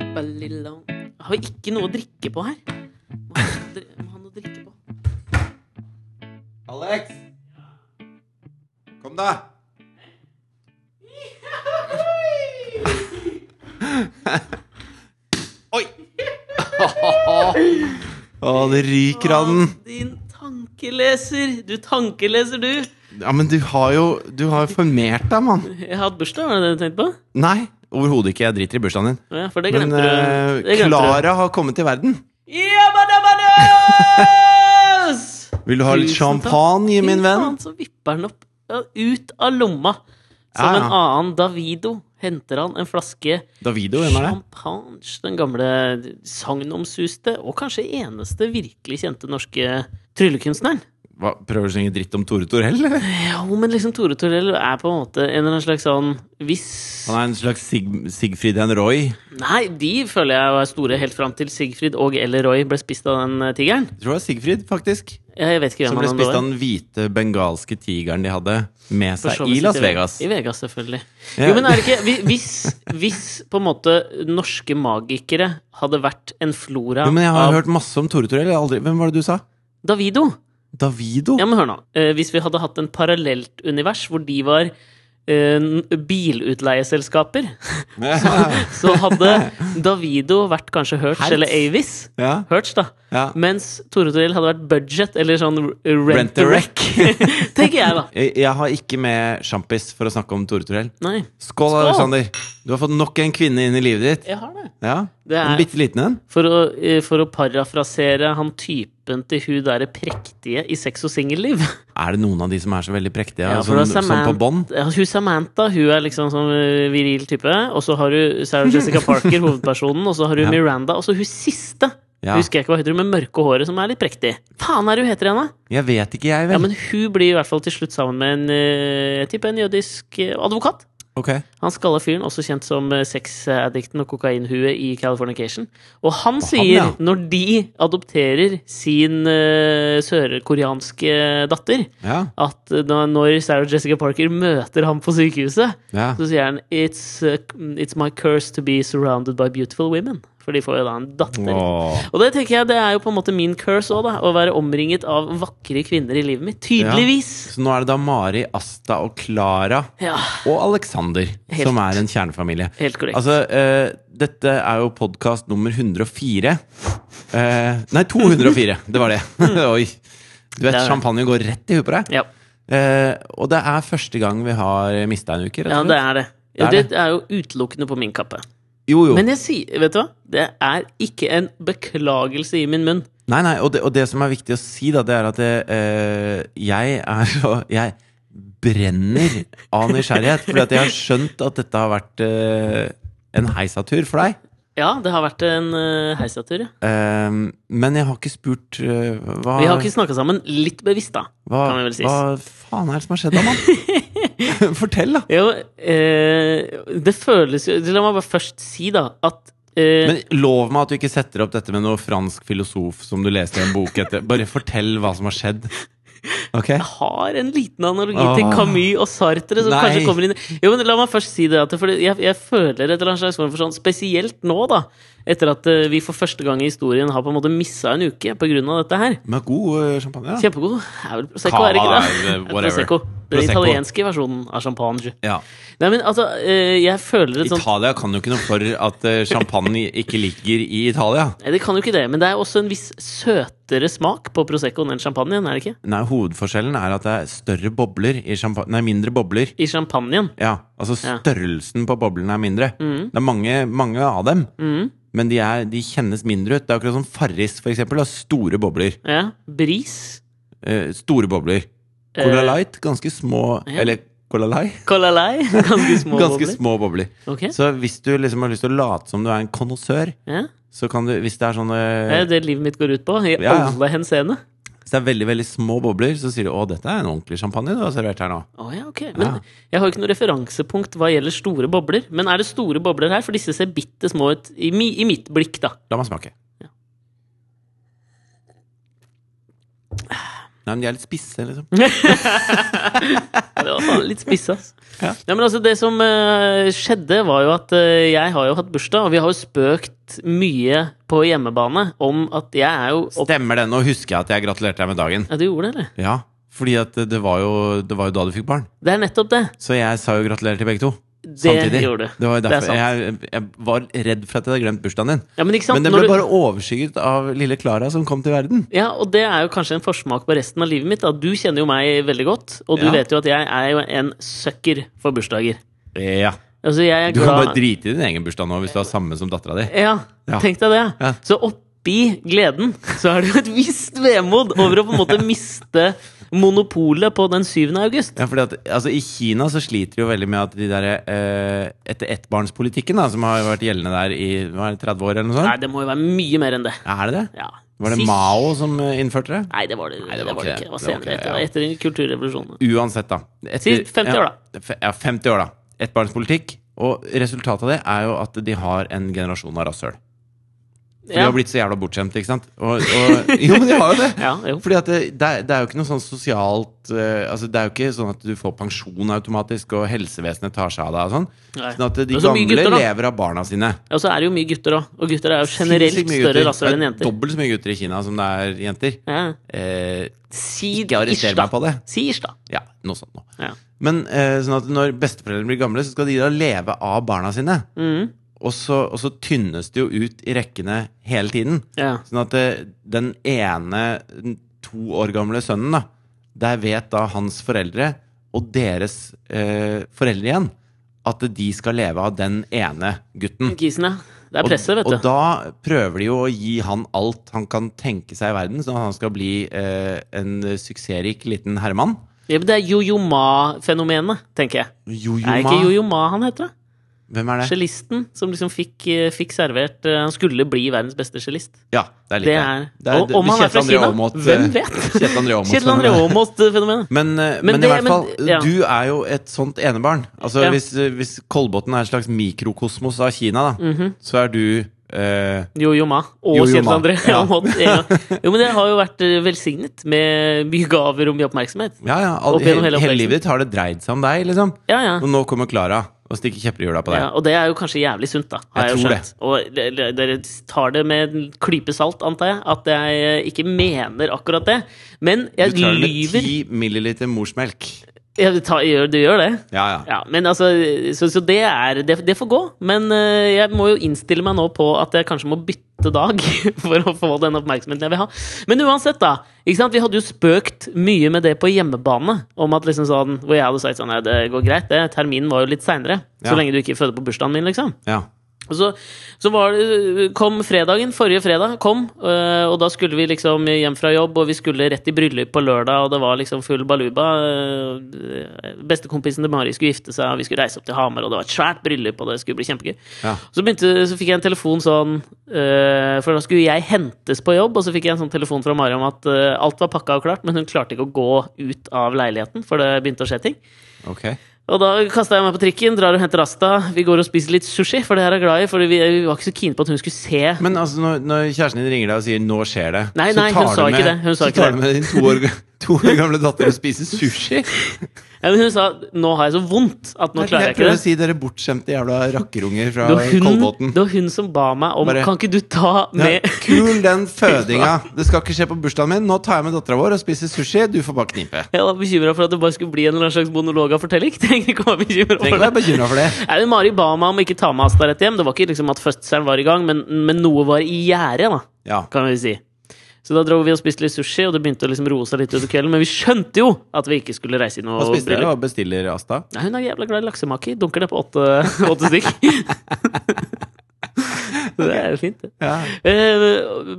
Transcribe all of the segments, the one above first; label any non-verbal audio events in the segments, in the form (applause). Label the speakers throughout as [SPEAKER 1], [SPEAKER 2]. [SPEAKER 1] Amarillo. Har vi ikke noe å drikke på her? Må ha, dri- må ha noe å drikke på.
[SPEAKER 2] Alex! Kom, da! Oi! Å, det ryker av den.
[SPEAKER 1] Å, Din tankeleser. Du tankeleser, du.
[SPEAKER 2] Ja, men du har jo Du har jo formert deg, mann.
[SPEAKER 1] Jeg har hatt bursdag, var det det du tenkte på?
[SPEAKER 2] Nei, overhodet ikke. Jeg driter i bursdagen din.
[SPEAKER 1] Å Ja, for det
[SPEAKER 2] Men
[SPEAKER 1] glemte du. Det
[SPEAKER 2] eh,
[SPEAKER 1] glemte du.
[SPEAKER 2] Klara har kommet til verden.
[SPEAKER 1] Jabba-dabba-doos!
[SPEAKER 2] Vil du ha litt
[SPEAKER 1] Tusen takk.
[SPEAKER 2] champagne, min
[SPEAKER 1] Fy
[SPEAKER 2] venn?
[SPEAKER 1] faen, så vipper han opp ja, ut av lomma. Som
[SPEAKER 2] Ja, ja.
[SPEAKER 1] en annen Davido henter han en flaske
[SPEAKER 2] Davido, hvem er det?
[SPEAKER 1] champagne. Den gamle sagnomsuste og kanskje eneste virkelig kjente norske tryllekunstneren.
[SPEAKER 2] Hva, prøver du å synge dritt om Tore Torell, eller?
[SPEAKER 1] Ja, men liksom Tore Torell er på en måte en eller annen slags sånn Hvis
[SPEAKER 2] Han er en slags Sig Sigfrid and Roy.
[SPEAKER 1] Nei, de føler jeg var store helt fram til Sigfrid og eller Roy ble spist av den eh, tigeren.
[SPEAKER 2] Jeg tror det var Sigfrid, faktisk.
[SPEAKER 1] Jeg vet ikke
[SPEAKER 2] Som
[SPEAKER 1] hvem
[SPEAKER 2] ble
[SPEAKER 1] han
[SPEAKER 2] spist
[SPEAKER 1] var.
[SPEAKER 2] av den hvite bengalske tigeren de hadde med
[SPEAKER 1] For
[SPEAKER 2] seg
[SPEAKER 1] så
[SPEAKER 2] i
[SPEAKER 1] vidt i
[SPEAKER 2] Las
[SPEAKER 1] Ve-
[SPEAKER 2] Vegas.
[SPEAKER 1] I Vegas, selvfølgelig.
[SPEAKER 2] Ja.
[SPEAKER 1] Jo, men er det ikke hvi- Hvis, hvis på en måte norske magikere hadde vært en flora
[SPEAKER 2] Jo, men jeg har
[SPEAKER 1] av
[SPEAKER 2] hørt masse om Tore Torell. jeg har Aldri. Hvem var det du sa?
[SPEAKER 1] Davido
[SPEAKER 2] Davido? (laughs)
[SPEAKER 1] Ja, men hør nå. Eh, Hvis vi hadde hatt en parallelt univers hvor de var eh, n- bilutleieselskaper, (laughs) så hadde Davido vært kanskje Hertz
[SPEAKER 2] Hertz?
[SPEAKER 1] eller Avis.
[SPEAKER 2] ja,
[SPEAKER 1] Hertz, da.
[SPEAKER 2] ja.
[SPEAKER 1] Mens Tore Torell hadde vært budget, eller sånn r-
[SPEAKER 2] Rent
[SPEAKER 1] rent
[SPEAKER 2] a
[SPEAKER 1] a wreck,
[SPEAKER 2] wreck. (laughs)
[SPEAKER 1] (laughs) tenker jeg, da.
[SPEAKER 2] Jeg jeg har ikke med sjampis for å snakke om Tore Torell.
[SPEAKER 1] Nei,
[SPEAKER 2] Skål,
[SPEAKER 1] Skål!
[SPEAKER 2] Alexander. Du har fått nok en kvinne inn i livet ditt.
[SPEAKER 1] jeg har det.
[SPEAKER 2] Ja,
[SPEAKER 1] Det er-
[SPEAKER 2] En bitte liten en.
[SPEAKER 1] For å, eh, for å parafrasere han typen til hun derre prektige i sex og singelliv. (laughs)
[SPEAKER 2] Er det noen av de som er så veldig prektige?
[SPEAKER 1] Ja, for
[SPEAKER 2] sånn,
[SPEAKER 1] det er
[SPEAKER 2] sånn på
[SPEAKER 1] Samantha-
[SPEAKER 2] bånd?
[SPEAKER 1] Ja, hun Samantha hun er liksom sånn eh, viril type. Og så har du Sarah Jessica
[SPEAKER 2] (laughs)
[SPEAKER 1] Parker, hovedpersonen. Og så har du
[SPEAKER 2] Ja.
[SPEAKER 1] Miranda. Og så hun siste.
[SPEAKER 2] Ja.
[SPEAKER 1] Husker jeg ikke hva heter hun med mørke håret som er litt prektig. Faen er det hun heter henne?
[SPEAKER 2] Jeg vet ikke, jeg,
[SPEAKER 1] Ja,
[SPEAKER 2] vel.
[SPEAKER 1] men hun blir i hvert fall til slutt sammen med en eh, jeg tipper en jødisk eh, advokat.
[SPEAKER 2] Ok.
[SPEAKER 1] Han skalla fyren, også kjent som eh, sexaddikten og kokainhuet i Californication. Og han sier,
[SPEAKER 2] ja.
[SPEAKER 1] når de adopterer sin eh, sørkoreanske datter,
[SPEAKER 2] Ja.
[SPEAKER 1] at eh, da- når Sarah Jessica Parker møter ham på sykehuset,
[SPEAKER 2] ja.
[SPEAKER 1] så sier han it's, eh, it's my curse to be surrounded by beautiful women. For de får jo da en datter.
[SPEAKER 2] Åh.
[SPEAKER 1] Og det tenker jeg, det er jo på en måte min curse òg, da. Å være omringet av vakre kvinner i livet mitt. Tydeligvis.
[SPEAKER 2] Så nå er det da Mari, Asta og Klara
[SPEAKER 1] Ja,
[SPEAKER 2] og Alexander
[SPEAKER 1] Helt.
[SPEAKER 2] som er en kjernefamilie.
[SPEAKER 1] helt korrekt.
[SPEAKER 2] Altså, eh, dette er jo podkast nummer 104. Eh, nei, 204. Det var det. (laughs) Oi.
[SPEAKER 1] Mm.
[SPEAKER 2] Du vet,
[SPEAKER 1] Det er det.
[SPEAKER 2] champagne går rett i huet på deg.
[SPEAKER 1] ja.
[SPEAKER 2] Eh, og det er første gang vi har mista en uke, rett
[SPEAKER 1] ja,
[SPEAKER 2] og
[SPEAKER 1] det
[SPEAKER 2] slett.
[SPEAKER 1] er det.
[SPEAKER 2] Det er
[SPEAKER 1] Ja, det er jo utelukkende på min kappe.
[SPEAKER 2] Jo, jo.
[SPEAKER 1] Men jeg sier, vet du hva? Det er ikke en beklagelse i min munn.
[SPEAKER 2] Nei, nei, og det, og det som er viktig å si, da, det er at det, eh, jeg er så Jeg brenner av nysgjerrighet, fordi at jeg har skjønt at dette har vært eh, en heisatur for deg.
[SPEAKER 1] Ja, det har vært en uh, heisatur, ja.
[SPEAKER 2] Eh, men jeg har ikke spurt eh, hva,
[SPEAKER 1] Vi har ikke snakka sammen litt bevisst, da.
[SPEAKER 2] hva,
[SPEAKER 1] kan vi vel sies.
[SPEAKER 2] hva faen er det som har skjedd da, mann?
[SPEAKER 1] (laughs)
[SPEAKER 2] Fortell, da.
[SPEAKER 1] Jo, eh, det føles jo La meg bare først si, da, at eh,
[SPEAKER 2] Men lov meg at du ikke setter opp dette med noe fransk filosof som du leste i en bok etter. Bare fortell hva som har skjedd. Ok?
[SPEAKER 1] jeg har en liten analogi til
[SPEAKER 2] Åh.
[SPEAKER 1] Camus og Sartre som
[SPEAKER 2] Ah. Nei.
[SPEAKER 1] kanskje kommer inn Jo, men La meg først si det, at for jeg, jeg føler et eller annet slags form for sånn Spesielt nå, da, etter at eh, vi for første gang i historien har på en måte missa en uke på grunn av dette her.
[SPEAKER 2] Med god eh, champagne, da.
[SPEAKER 1] Kjempegod. Er vel Prosecco, er det ikke det?
[SPEAKER 2] Cava,
[SPEAKER 1] (laughs)
[SPEAKER 2] eh,
[SPEAKER 1] Det er
[SPEAKER 2] whatever.
[SPEAKER 1] Prosecco. Den
[SPEAKER 2] Prosecco.
[SPEAKER 1] italienske versjonen av champagne.
[SPEAKER 2] Ja.
[SPEAKER 1] Nei, men altså, eh, jeg føler et sånt
[SPEAKER 2] Italia kan jo ikke noe for at eh, champagne ikke ligger i Italia.
[SPEAKER 1] Nei, Det kan jo ikke det, men det er også en viss søtere smak på Proseccoen enn champagnen, er det ikke?
[SPEAKER 2] Nei, Hovedforskjellen er at det er større bobler i champagne Nei, mindre bobler.
[SPEAKER 1] I champagnen.
[SPEAKER 2] Ja, altså
[SPEAKER 1] Ja. Mm.
[SPEAKER 2] Størrelsen på boblene er mindre. Det er mange, mange av dem, men de, er, de kjennes mindre ut. Det er akkurat som Farris, for eksempel. Har store bobler.
[SPEAKER 1] Ja. Bris.
[SPEAKER 2] Eh, store bobler. Cola
[SPEAKER 1] Eh.
[SPEAKER 2] Light, ganske små
[SPEAKER 1] Ja.
[SPEAKER 2] Eller Cola Light?
[SPEAKER 1] Colalei. (laughs) Ganske små
[SPEAKER 2] (laughs) Ganske
[SPEAKER 1] bobler.
[SPEAKER 2] små bobler.
[SPEAKER 1] Ok.
[SPEAKER 2] Så hvis du liksom har lyst til å late som du er en konnoissør,
[SPEAKER 1] Ja.
[SPEAKER 2] så kan du Hvis det er sånne
[SPEAKER 1] Det er jo det livet mitt går ut på, i
[SPEAKER 2] ja.
[SPEAKER 1] alle henseende.
[SPEAKER 2] Hvis det er veldig veldig små bobler, så sier du 'Å, dette er en ordentlig champagne du har servert her nå'.
[SPEAKER 1] Å ja, ok. Men
[SPEAKER 2] Ja.
[SPEAKER 1] jeg har jo ikke noe referansepunkt hva gjelder store bobler. Men er det store bobler her? For disse ser bitte små ut i, mi, i mitt blikk, da. (laughs)
[SPEAKER 2] La meg smake.
[SPEAKER 1] Ja.
[SPEAKER 2] Nei, men de er litt spisse, liksom.
[SPEAKER 1] Det var faen litt spisse, ass.
[SPEAKER 2] Ja.
[SPEAKER 1] Ja. men altså, det som eh, skjedde, var jo at eh, jeg har jo hatt bursdag, og vi har jo spøkt mye på hjemmebane om at jeg er jo opp...
[SPEAKER 2] Stemmer det? Nå husker jeg at jeg gratulerte deg med dagen.
[SPEAKER 1] Ja, du gjorde det, eller?
[SPEAKER 2] Ja, fordi at det var jo, det var jo da du fikk barn.
[SPEAKER 1] Det er nettopp det.
[SPEAKER 2] Så jeg sa jo gratulerer til begge to.
[SPEAKER 1] Det
[SPEAKER 2] Samtidig.
[SPEAKER 1] gjorde du.
[SPEAKER 2] Det var jo
[SPEAKER 1] Det er
[SPEAKER 2] derfor
[SPEAKER 1] sant.
[SPEAKER 2] jeg, jeg var redd for at jeg hadde glemt bursdagen din.
[SPEAKER 1] Ja, men ikke sant?
[SPEAKER 2] Men det
[SPEAKER 1] Når
[SPEAKER 2] ble
[SPEAKER 1] du-
[SPEAKER 2] bare overskygget av lille Klara som kom til verden.
[SPEAKER 1] Ja, og det er jo kanskje en forsmak på resten av livet mitt. Da. Du kjenner jo meg veldig godt, og du
[SPEAKER 2] Ja.
[SPEAKER 1] vet jo at jeg er jo en søkker for bursdager.
[SPEAKER 2] Ja.
[SPEAKER 1] Altså, jeg er
[SPEAKER 2] Du kan
[SPEAKER 1] glad...
[SPEAKER 2] bare drite i din egen bursdag nå hvis du har samme som dattera di.
[SPEAKER 1] Ja,
[SPEAKER 2] Ja.
[SPEAKER 1] tenk deg det.
[SPEAKER 2] Ja.
[SPEAKER 1] Så oppi gleden så er det jo et visst vemod over å på en måte miste monopolet på den 7. august.
[SPEAKER 2] Ja, fordi at, altså, I Kina så sliter de jo veldig med at de der, eh, etter ettbarnspolitikken, da, som har vært gjeldende der i hva er det, 30 år, eller noe
[SPEAKER 1] Nei,
[SPEAKER 2] sånt
[SPEAKER 1] det må jo være mye mer enn det.
[SPEAKER 2] Er det det?
[SPEAKER 1] Ja.
[SPEAKER 2] Var det
[SPEAKER 1] Sist-
[SPEAKER 2] Mao som eh, innførte det?
[SPEAKER 1] Nei, det var det,
[SPEAKER 2] Nei,
[SPEAKER 1] det, var det ikke. Det var senere,
[SPEAKER 2] ikke det,
[SPEAKER 1] etter,
[SPEAKER 2] ja.
[SPEAKER 1] etter kulturrevolusjonen.
[SPEAKER 2] Uansett, da.
[SPEAKER 1] Sist 50 år,
[SPEAKER 2] da. Ja, ja, 50 år, da. Ettbarnspolitikk. Og resultatet av det er jo at de har en generasjon av rasshøl. For De
[SPEAKER 1] Ja.
[SPEAKER 2] har blitt så jævla bortskjemt, ikke sant? Og, og, (laughs) jo, men de har jo det!
[SPEAKER 1] Ja, jo.
[SPEAKER 2] Fordi at det, det, er, det er jo ikke noe sånn sosialt eh, Altså Det er jo ikke sånn at du får pensjon automatisk, og helsevesenet tar seg av deg og sånn.
[SPEAKER 1] Nei.
[SPEAKER 2] Sånn at de
[SPEAKER 1] Og så mye
[SPEAKER 2] gamle
[SPEAKER 1] gutter, da.
[SPEAKER 2] lever av barna sine.
[SPEAKER 1] Og så er det jo mye gutter òg. Og gutter er jo generelt
[SPEAKER 2] Sinnssykt mye
[SPEAKER 1] større
[SPEAKER 2] gutter.
[SPEAKER 1] rasshøl enn
[SPEAKER 2] Det er
[SPEAKER 1] jenter.
[SPEAKER 2] Dobbelt så mye gutter i Kina som det er jenter.
[SPEAKER 1] Ja.
[SPEAKER 2] Eh,
[SPEAKER 1] Si
[SPEAKER 2] ikke arrester
[SPEAKER 1] ish, da.
[SPEAKER 2] meg på det.
[SPEAKER 1] Si ish, da.
[SPEAKER 2] Ja, noe sånt noe.
[SPEAKER 1] Ja.
[SPEAKER 2] Men eh, sånn at når besteforeldrene blir gamle, så skal de da leve av barna sine.
[SPEAKER 1] Mhm.
[SPEAKER 2] Og så, og så tynnes det jo ut i rekkene hele tiden.
[SPEAKER 1] ja.
[SPEAKER 2] Sånn at eh, den ene den to år gamle sønnen, da, der vet da hans foreldre og deres eh, foreldre igjen at de skal leve av den ene gutten.
[SPEAKER 1] Kisen, ja. Det er presset, vet
[SPEAKER 2] og,
[SPEAKER 1] du.
[SPEAKER 2] og da prøver de jo å gi han alt han kan tenke seg i verden, sånn at han skal bli eh, en suksessrik liten herremann.
[SPEAKER 1] ja, men det er Jojo Ma-fenomenet, tenker jeg.
[SPEAKER 2] Jojo
[SPEAKER 1] Er
[SPEAKER 2] Ma.
[SPEAKER 1] ikke Jojo Ma han heter, da?
[SPEAKER 2] Hvem er det?
[SPEAKER 1] Cellisten som liksom fikk, eh, fikk servert eh, Han skulle bli verdens beste cellist.
[SPEAKER 2] Ja, det er litt
[SPEAKER 1] Det er Og om han er fra Kina, hvem vet?
[SPEAKER 2] eh, Kjetil André Aamodt. eh,
[SPEAKER 1] Kjetil André Aamodt-fenomenet.
[SPEAKER 2] Men, eh, men,
[SPEAKER 1] Men det-
[SPEAKER 2] i hvert
[SPEAKER 1] men-
[SPEAKER 2] fall,
[SPEAKER 1] ja.
[SPEAKER 2] du er jo et sånt enebarn. Altså
[SPEAKER 1] Ja.
[SPEAKER 2] Hvis, eh, hvis Kolbotn er en slags mikrokosmos av Kina, da,
[SPEAKER 1] Mhm.
[SPEAKER 2] så er du eh,
[SPEAKER 1] Jojo Ma og
[SPEAKER 2] Jojo
[SPEAKER 1] Kjetil
[SPEAKER 2] Ma,
[SPEAKER 1] André
[SPEAKER 2] ja.
[SPEAKER 1] Aamodt. en gang. Jo, men det har jo vært eh, velsignet med mye gaver og mye oppmerksomhet.
[SPEAKER 2] Ja, ja. All,
[SPEAKER 1] Opp gjennom
[SPEAKER 2] hele,
[SPEAKER 1] hele
[SPEAKER 2] hele
[SPEAKER 1] oppveksten.
[SPEAKER 2] livet ditt har det dreid seg om deg, liksom.
[SPEAKER 1] Ja, ja.
[SPEAKER 2] Og nå kommer Klara og stikker kjepper i hjula på deg.
[SPEAKER 1] Ja, og det er jo kanskje jævlig sunt, da. Har
[SPEAKER 2] Jeg
[SPEAKER 1] jeg,
[SPEAKER 2] tror
[SPEAKER 1] jo skjønt. Og de- de- dere tar det med en klype salt, antar jeg, at jeg eh, ikke mener akkurat det. Men
[SPEAKER 2] Du
[SPEAKER 1] jeg
[SPEAKER 2] tar det med
[SPEAKER 1] lyver.
[SPEAKER 2] 10 milliliter morsmelk.
[SPEAKER 1] Jeg tar, gjør, du gjør det?
[SPEAKER 2] Ja, ja.
[SPEAKER 1] Ja, men altså, så, så det er det, det får gå. Men eh, jeg må jo innstille meg nå på at jeg kanskje må bytte dag (laughs) for å få den oppmerksomheten jeg vil ha. Men uansett, da. Ikke sant? Vi hadde jo spøkt mye med det på hjemmebane. Om at liksom sånn, Hvor jeg hadde sagt sånn Nei, det går greit, det. Terminen var jo litt seinere.
[SPEAKER 2] Ja.
[SPEAKER 1] Så lenge du ikke føder på bursdagen min, liksom.
[SPEAKER 2] ja.
[SPEAKER 1] Og så, så var det, kom fredagen, forrige fredag kom, øh, og da skulle vi liksom hjem fra jobb, og vi skulle rett i bryllup på lørdag, og det var liksom full baluba. øh, Bestekompisen til Mari skulle gifte seg, og vi skulle reise opp til Hamar, og det var et svært bryllup, og det skulle bli kjempegøy.
[SPEAKER 2] Ja.
[SPEAKER 1] Så, begynte, så fikk jeg en telefon sånn øh, For da skulle jeg hentes på jobb, og så fikk jeg en sånn telefon fra Mari om at øh, alt var pakka og klart, men hun klarte ikke å gå ut av leiligheten, for det begynte å skje ting.
[SPEAKER 2] Ok.
[SPEAKER 1] Og da kasta jeg meg på trikken, drar og henter Asta. Vi går og spiser litt sushi, for det her er jeg glad i. For vi, vi var ikke så keen på at hun skulle se.
[SPEAKER 2] Men altså, når, når kjæresten din ringer deg og sier 'nå skjer det',
[SPEAKER 1] Nei, nei, hun
[SPEAKER 2] du
[SPEAKER 1] sa ikke
[SPEAKER 2] med,
[SPEAKER 1] det. Hun sa
[SPEAKER 2] så
[SPEAKER 1] ikke
[SPEAKER 2] tar
[SPEAKER 1] det.
[SPEAKER 2] du med din to år, ga- (laughs) to år gamle datter og spiser sushi?
[SPEAKER 1] Ja, men hun sa 'nå har jeg så vondt at nå klarer jeg
[SPEAKER 2] jeg
[SPEAKER 1] ikke
[SPEAKER 2] prøver å
[SPEAKER 1] det'.
[SPEAKER 2] si dere bortskjemte jævla rakkerunger fra
[SPEAKER 1] Det var hun,
[SPEAKER 2] Kolbotn.
[SPEAKER 1] det var hun som ba meg om
[SPEAKER 2] Bare-
[SPEAKER 1] 'kan ikke du ta
[SPEAKER 2] Ja,
[SPEAKER 1] med
[SPEAKER 2] kul
[SPEAKER 1] (laughs)
[SPEAKER 2] den fødinga! Det skal ikke skje på bursdagen min. Nå tar jeg med dattera vår og spiser sushi. Du får bare knipe.
[SPEAKER 1] Jeg var bekymra for at det bare skulle bli en eller annen slags monolog av fortelling. (laughs) Trenger ikke å være bekymret
[SPEAKER 2] Trenger
[SPEAKER 1] for
[SPEAKER 2] ikke
[SPEAKER 1] det.
[SPEAKER 2] være bekymra for det.
[SPEAKER 1] Nei, men Mari ba meg om ikke ta med Asta rett hjem. Det var ikke liksom at fødselen var i gang, men, men noe var i gjære, da.
[SPEAKER 2] Ja.
[SPEAKER 1] kan vi si. Så da dro vi og spiste litt sushi, og det begynte å liksom roe seg litt utover kvelden. Men vi skjønte jo at vi ikke skulle reise i noe
[SPEAKER 2] Hva spiser dere?
[SPEAKER 1] bryllup.
[SPEAKER 2] Hva bestiller Asta?
[SPEAKER 1] Nei, hun er jævla glad i laksemaker. Dunker det på åtte, (laughs) åtte stykk. (laughs) Så det er jo fint, det.
[SPEAKER 2] Ja.
[SPEAKER 1] Eh,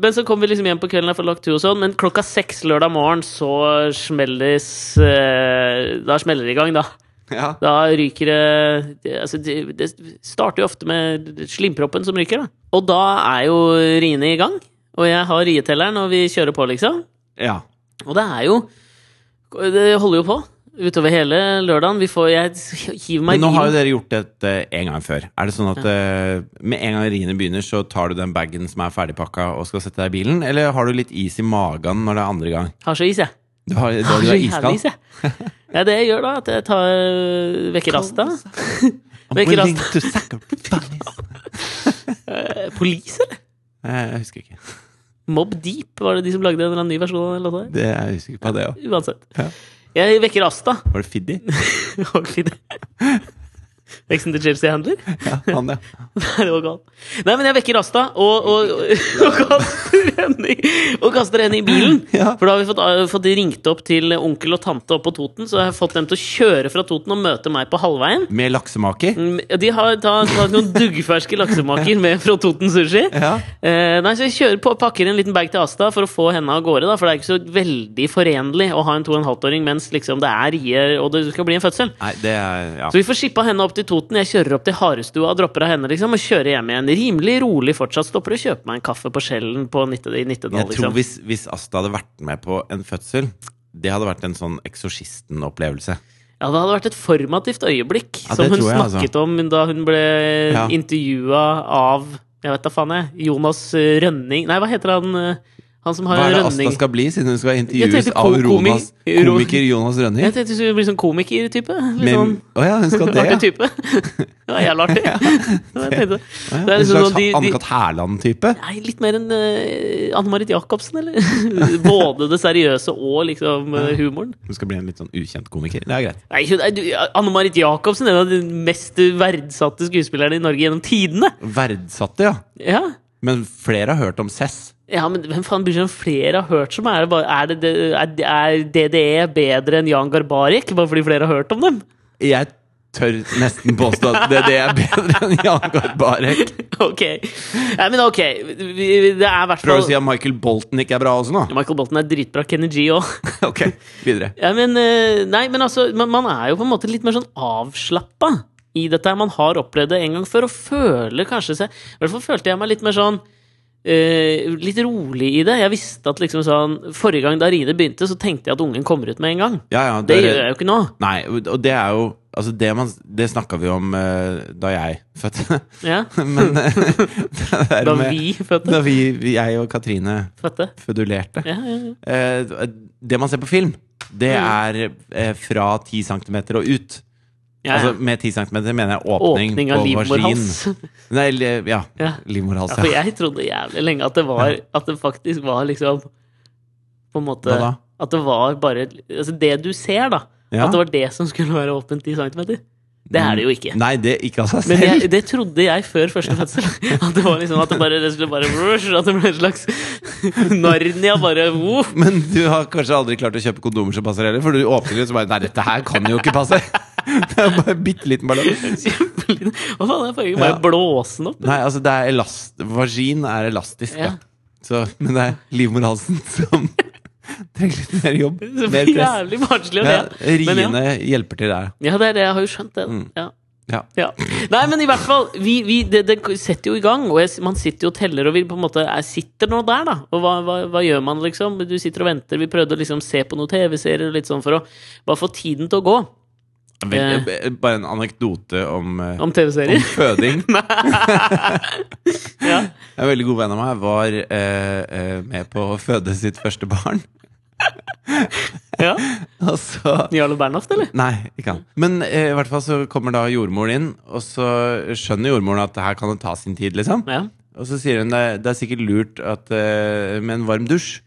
[SPEAKER 1] Men så kom vi liksom hjem på kvelden, jeg får lagt tur og sånn. Men klokka seks lørdag morgen så smelles eh, Da smeller det i gang, da.
[SPEAKER 2] ja.
[SPEAKER 1] Da ryker det- det altså, det, det starter jo ofte med slimproppen som ryker, da. Og da er jo riene i gang. Og jeg har rietelleren, og vi kjører på, liksom.
[SPEAKER 2] ja.
[SPEAKER 1] Og det er jo Det holder jo på utover hele lørdagen. Vi får Jeg hiver meg
[SPEAKER 2] Men nå har jo
[SPEAKER 1] inn.
[SPEAKER 2] dere gjort dette en gang før. Er det sånn at eh, med en gang riene begynner, så tar du den bagen som er ferdigpakka, og skal sette deg i bilen? Eller har du litt is i magen når det er andre gang?
[SPEAKER 1] Har så is, jeg.
[SPEAKER 2] Du har, du,
[SPEAKER 1] Jeg
[SPEAKER 2] du
[SPEAKER 1] har
[SPEAKER 2] er
[SPEAKER 1] så jævlig is,
[SPEAKER 2] iskald.
[SPEAKER 1] jeg. (laughs) Ja, det jeg gjør da, at jeg tar vekker rasta.
[SPEAKER 2] I'm
[SPEAKER 1] Vekker
[SPEAKER 2] willing
[SPEAKER 1] rasta.
[SPEAKER 2] to sacrifice.
[SPEAKER 1] Eh, Police, eller?
[SPEAKER 2] Eh, Jeg husker ikke.
[SPEAKER 1] Mob Deep, var det de som lagde en eller annen ny versjon av den låta? der?
[SPEAKER 2] Det, jeg husker ikke på det òg.
[SPEAKER 1] Uansett.
[SPEAKER 2] Ja.
[SPEAKER 1] Jeg vekker Asta.
[SPEAKER 2] Var det Fiddy?
[SPEAKER 1] (laughs) Og Fidde. Veksten til Chelsea Handler.
[SPEAKER 2] (laughs)
[SPEAKER 1] (laughs)
[SPEAKER 2] Ja, han, ja.
[SPEAKER 1] Det var galt. Nei, men jeg vekker Asta og, og, (laughs) og, kaster henne i, og kaster henne i bilen.
[SPEAKER 2] Ja.
[SPEAKER 1] For da har vi fått, eh, fått ringt opp til onkel og tante oppe på Toten, så jeg har fått dem til å kjøre fra Toten og møte meg på halvveien.
[SPEAKER 2] Med laksemaker?
[SPEAKER 1] Mm, De har tatt noen duggferske laksemaker med fra Toten Sushi.
[SPEAKER 2] Ja.
[SPEAKER 1] Eh, nei, så jeg kjører på, pakker en liten bag til Asta for å få henne av gårde. Da, for det er ikke så veldig forenlig å ha en 2,5-åring mens liksom, det er rier og det skal bli en fødsel.
[SPEAKER 2] Nei, det er Ja.
[SPEAKER 1] Så vi får skippa henne opp til Toten. Jeg kjører opp til Harestua og dropper av henne liksom, og kjører hjem igjen. Rimelig rolig fortsatt. Stopper og kjøper meg en kaffe på Skjellen på Nitte- i Nittedal.
[SPEAKER 2] Jeg tror
[SPEAKER 1] Liksom.
[SPEAKER 2] hvis, hvis Asta hadde vært med på en fødsel, det hadde vært en sånn eksorsisten-opplevelse.
[SPEAKER 1] Ja, det hadde vært et formativt øyeblikk
[SPEAKER 2] Ja,
[SPEAKER 1] som
[SPEAKER 2] det
[SPEAKER 1] hun
[SPEAKER 2] tror jeg, altså.
[SPEAKER 1] snakket om da hun ble
[SPEAKER 2] Ja.
[SPEAKER 1] intervjua av jeg vet da faen jeg, Jonas eh, Rønning Nei, hva heter han eh, han som har
[SPEAKER 2] Hva er det Asta
[SPEAKER 1] Rønning?
[SPEAKER 2] skal bli, siden hun skal
[SPEAKER 1] Jeg
[SPEAKER 2] intervjues
[SPEAKER 1] tenkte ko-
[SPEAKER 2] av
[SPEAKER 1] komi-
[SPEAKER 2] Jonas, komiker Jonas Rønning?
[SPEAKER 1] Jeg tenkte du skulle bli sånn komiker-type. Litt
[SPEAKER 2] Med,
[SPEAKER 1] sånn
[SPEAKER 2] å ja, hun skal det,
[SPEAKER 1] (laughs)
[SPEAKER 2] ja.
[SPEAKER 1] artig type. Det var jævla
[SPEAKER 2] (laughs)
[SPEAKER 1] artig. Det var jeg tenkte.
[SPEAKER 2] Å
[SPEAKER 1] Det
[SPEAKER 2] ja.
[SPEAKER 1] er
[SPEAKER 2] En
[SPEAKER 1] liksom sånn
[SPEAKER 2] slags
[SPEAKER 1] de, de,
[SPEAKER 2] Anne-Cath. Hærland-type?
[SPEAKER 1] Nei, litt mer enn eh, Anne-Marit Jacobsen, eller? (laughs) Både det seriøse og liksom eh, humoren.
[SPEAKER 2] Hun skal bli en litt sånn ukjent komiker. Det er greit.
[SPEAKER 1] Nei, hun er- du- Anne-Marit Jacobsen er en av de mest verdsatte skuespillerne i Norge gjennom tidene.
[SPEAKER 2] Verdsatte, ja.
[SPEAKER 1] Ja,
[SPEAKER 2] Men flere har hørt om Cess.
[SPEAKER 1] ja men hvem faen bryr seg om flere har hørt som er det? Bare, er, det- det, er, er DDE bedre enn Jan Garbarek bare fordi flere har hørt om dem? (laughs)
[SPEAKER 2] Jeg tør nesten påstå at det, det er bedre enn Jan Gard Barek.
[SPEAKER 1] Ok. Nei, men ok. Vi- vi- Det er i hvert
[SPEAKER 2] Prøver du å si
[SPEAKER 1] fall
[SPEAKER 2] at Michael Bolton ikke er bra også nå?
[SPEAKER 1] Michael Bolton er dritbra. Kenny G òg.
[SPEAKER 2] (laughs) Ok, videre.
[SPEAKER 1] Ja, men, eh, nei, men altså, man, man er jo på en måte litt mer sånn avslappa i dette. her. Man har opplevd det en gang før, og føler kanskje seg I hvert fall følte jeg meg litt mer sånn eh, litt rolig i det. Jeg visste at liksom sånn Forrige gang da Rine begynte, så tenkte jeg at ungen kommer ut med en gang.
[SPEAKER 2] Ja, ja,
[SPEAKER 1] Det
[SPEAKER 2] dere-
[SPEAKER 1] gjør jeg jo ikke nå.
[SPEAKER 2] Nei, og det er jo Altså, det, man- det snakka vi om eh, da jeg fødte. (laughs)
[SPEAKER 1] Ja,
[SPEAKER 2] Men eh, det der
[SPEAKER 1] da
[SPEAKER 2] med-
[SPEAKER 1] vi fødte.
[SPEAKER 2] da vi, vi- jeg og Katrine
[SPEAKER 1] fødte.
[SPEAKER 2] fødulerte.
[SPEAKER 1] Ja, Mm. ja, ja.
[SPEAKER 2] Eh, det man ser på film, det er eh, fra 10 cm og ut.
[SPEAKER 1] Ja,
[SPEAKER 2] Altså,
[SPEAKER 1] ja.
[SPEAKER 2] med 10 cm mener jeg åpning,
[SPEAKER 1] Åpning av
[SPEAKER 2] på vagin.
[SPEAKER 1] livmorhals.
[SPEAKER 2] Nei, li- ja.
[SPEAKER 1] (laughs) Ja.
[SPEAKER 2] Livmorhals,
[SPEAKER 1] Ja, for
[SPEAKER 2] ja.
[SPEAKER 1] jeg trodde jævlig lenge at det var At det faktisk var liksom På en måte
[SPEAKER 2] Hva da?
[SPEAKER 1] At det var bare Altså det du ser, da.
[SPEAKER 2] Ja.
[SPEAKER 1] At det var det som skulle være åpent 10 cm. Det er det jo ikke.
[SPEAKER 2] Nei, det ikke av seg
[SPEAKER 1] Men
[SPEAKER 2] selv. (laughs)
[SPEAKER 1] jeg, det trodde jeg før første fødsel. (laughs) At det var liksom At det bare det skulle bare rush, At det ble en slags (laughs) Narnia bare woof.
[SPEAKER 2] Men du har kanskje aldri klart å kjøpe kondomer som passer heller? For du åpner litt så bare Nei, dette her kan jo ikke passe! (laughs) Det er bare en bitte liten ballong.
[SPEAKER 1] Kjempeliten. Hva faen, jeg får ikke
[SPEAKER 2] Ja.
[SPEAKER 1] bare blåse den opp.
[SPEAKER 2] Nei, altså det er elast... Vagin er elastisk,
[SPEAKER 1] Ja.
[SPEAKER 2] ja. Så, men det er livmorhalsen som (laughs) trenger litt mer jobb.
[SPEAKER 1] Så
[SPEAKER 2] Mer press.
[SPEAKER 1] jævlig barnslig å le.
[SPEAKER 2] Ja,
[SPEAKER 1] Men ja.
[SPEAKER 2] riene hjelper til der.
[SPEAKER 1] Ja, det er det. Jeg har jo skjønt det. Ja.
[SPEAKER 2] Mm. Ja.
[SPEAKER 1] Ja. Nei, men i hvert fall, vi, vi, det, det setter jo i gang, og jeg, man sitter jo og teller, og vi på en måte er, sitter nå der, da. Og hva, hva, hva gjør man, liksom? Du sitter og venter. Vi prøvde å liksom se på noen TV-serier og litt sånn for å bare få tiden til å gå
[SPEAKER 2] Vel, eh, bare en anekdote om, eh,
[SPEAKER 1] om
[SPEAKER 2] om
[SPEAKER 1] TV-serier.
[SPEAKER 2] føding.
[SPEAKER 1] (laughs) Ja.
[SPEAKER 2] En veldig god venn av meg var eh, eh, med på å føde sitt første barn.
[SPEAKER 1] ja.
[SPEAKER 2] (laughs) Og så
[SPEAKER 1] Jarle Bernhoft, eller?
[SPEAKER 2] Altså, Nei, ikke han. Men eh, i hvert fall så kommer da jordmoren inn, og så skjønner jordmoren at her kan det ta sin tid, liksom.
[SPEAKER 1] Ja.
[SPEAKER 2] Og så sier hun det, det er sikkert lurt at, eh, med en varm dusj.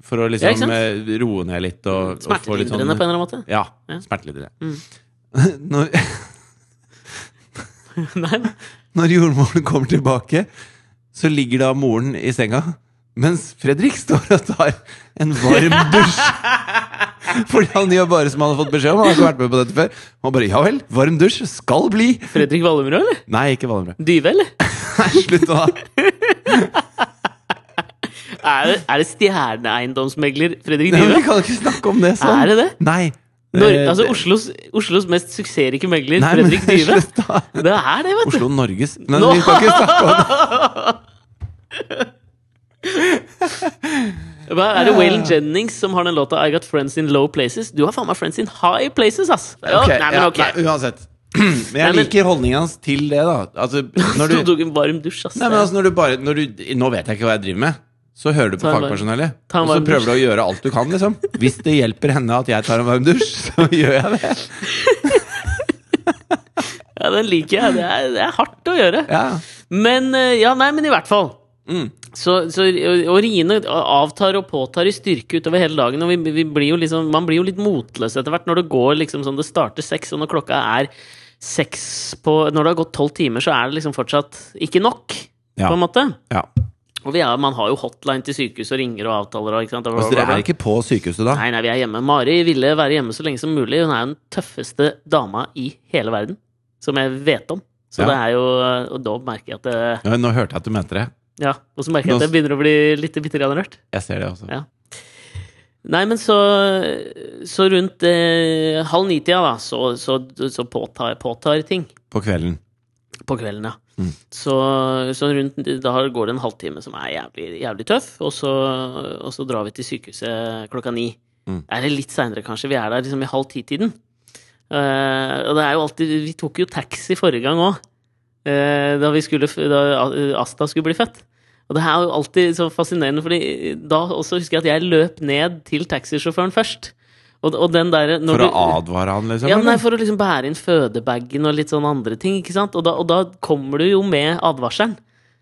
[SPEAKER 2] For å
[SPEAKER 1] Ja, ikke
[SPEAKER 2] liksom
[SPEAKER 1] sant?
[SPEAKER 2] eh, roe ned litt og, og få litt sånn
[SPEAKER 1] Smertelindrende på en eller annen måte.
[SPEAKER 2] Ja.
[SPEAKER 1] Ja.
[SPEAKER 2] Smertelindrende.
[SPEAKER 1] Mm.
[SPEAKER 2] (laughs) Når,
[SPEAKER 1] (laughs) Nei,
[SPEAKER 2] når jordmoren kommer tilbake, så ligger da moren i senga. Mens Fredrik står og tar en
[SPEAKER 1] (laughs)
[SPEAKER 2] varm dusj. Fordi han gjør bare som han har fått beskjed om. Han har ikke vært med på dette før. Han bare, ja vel, varm dusj skal bli.
[SPEAKER 1] Fredrik Valmrud, eller?
[SPEAKER 2] Nei, ikke Valmrød.
[SPEAKER 1] Dyve, eller?
[SPEAKER 2] Nei, Slutt nå, da.
[SPEAKER 1] Er det, er det stjerneeiendomsmegler Fredrik
[SPEAKER 2] Nei, men
[SPEAKER 1] Dyve?
[SPEAKER 2] Vi kan ikke snakke om det sånn.
[SPEAKER 1] Er det det?
[SPEAKER 2] Nei.
[SPEAKER 1] Nor
[SPEAKER 2] Eh,
[SPEAKER 1] altså
[SPEAKER 2] det-
[SPEAKER 1] Oslos, Oslos mest suksessrike megler,
[SPEAKER 2] Nei, men
[SPEAKER 1] Fredrik Dyve.
[SPEAKER 2] (laughs) Slutt, da.
[SPEAKER 1] Det er det, vet du.
[SPEAKER 2] Oslo Norges Men vi skal ikke snakke
[SPEAKER 1] (laughs)
[SPEAKER 2] om det.
[SPEAKER 1] Hva Er det Waylon Jennings som har den låta I Got Friends In Low Places? Du har faen meg Friends In High Places, ass! Ja,
[SPEAKER 2] Ok,
[SPEAKER 1] nei, men
[SPEAKER 2] ja,
[SPEAKER 1] ok. (laughs)
[SPEAKER 2] nei, uansett. (clears throat) Men jeg
[SPEAKER 1] Nei, men-
[SPEAKER 2] liker holdningen hans til det, da. Altså,
[SPEAKER 1] (laughs)
[SPEAKER 2] når
[SPEAKER 1] du
[SPEAKER 2] du
[SPEAKER 1] tok en varm dusj, ass.
[SPEAKER 2] altså, Nei, men altså, når du bare når du, Nå vet jeg ikke hva jeg driver med. så hører du på
[SPEAKER 1] Ta en varm-
[SPEAKER 2] fagpersonellet.
[SPEAKER 1] ta en
[SPEAKER 2] Og så
[SPEAKER 1] varm dusj.
[SPEAKER 2] prøver du å gjøre alt du kan, liksom. Hvis det hjelper henne at jeg tar en varm dusj, (laughs) så gjør jeg det.
[SPEAKER 1] Ja, den liker jeg. Det er, det er hardt å gjøre.
[SPEAKER 2] Ja.
[SPEAKER 1] Men eh, ja, nei, men i hvert fall.
[SPEAKER 2] Mm.
[SPEAKER 1] Så, så og og riene avtar og påtar i styrke utover hele dagen. Og vi, vi blir jo liksom, man blir jo litt motløs etter hvert når det går liksom sånn det starter seks, og når klokka er seks på Når det har gått tolv timer, så er det liksom fortsatt ikke nok,
[SPEAKER 2] Ja.
[SPEAKER 1] på en måte.
[SPEAKER 2] ja.
[SPEAKER 1] Og vi er, man har jo hotline til sykehuset og ringer og avtaler og ikke sant.
[SPEAKER 2] Altså, dere er ikke på sykehuset da?
[SPEAKER 1] Nei, nei, vi er hjemme. Mari ville være hjemme så lenge som mulig. Hun er jo den tøffeste dama i hele verden, som jeg vet om. Så
[SPEAKER 2] Ja.
[SPEAKER 1] det er jo Og da merker jeg at det,
[SPEAKER 2] Ja, Nå hørte jeg at du mente det.
[SPEAKER 1] Ja, og så merker jeg at jeg begynner å bli litt bitte grann rørt.
[SPEAKER 2] Jeg ser det også.
[SPEAKER 1] Ja. Nei, men så, så rundt eh, halv ni-tida, da, så, så, så påtar, påtar ting
[SPEAKER 2] På kvelden.
[SPEAKER 1] på kvelden, ja.
[SPEAKER 2] Mm.
[SPEAKER 1] Så, så rundt, da går det en halvtime som er jævlig, jævlig tøff, og så, og så drar vi til sykehuset klokka ni.
[SPEAKER 2] Mm.
[SPEAKER 1] Er det litt seinere, kanskje? Vi er der liksom i halv ti-tiden. Eh, og det er jo alltid Vi tok jo taxi forrige gang òg, da, vi skulle, f- da Asta skulle bli født. Og det her er jo alltid så fascinerende, Fordi da også husker jeg at jeg løp ned til taxisjåføren først. Og, og den der, når
[SPEAKER 2] For å
[SPEAKER 1] du-
[SPEAKER 2] advare han, liksom?
[SPEAKER 1] ja,
[SPEAKER 2] eller?
[SPEAKER 1] nei, For å liksom bære inn fødebagen og litt sånn andre ting. ikke sant? Og da, og da kommer du jo med advarselen.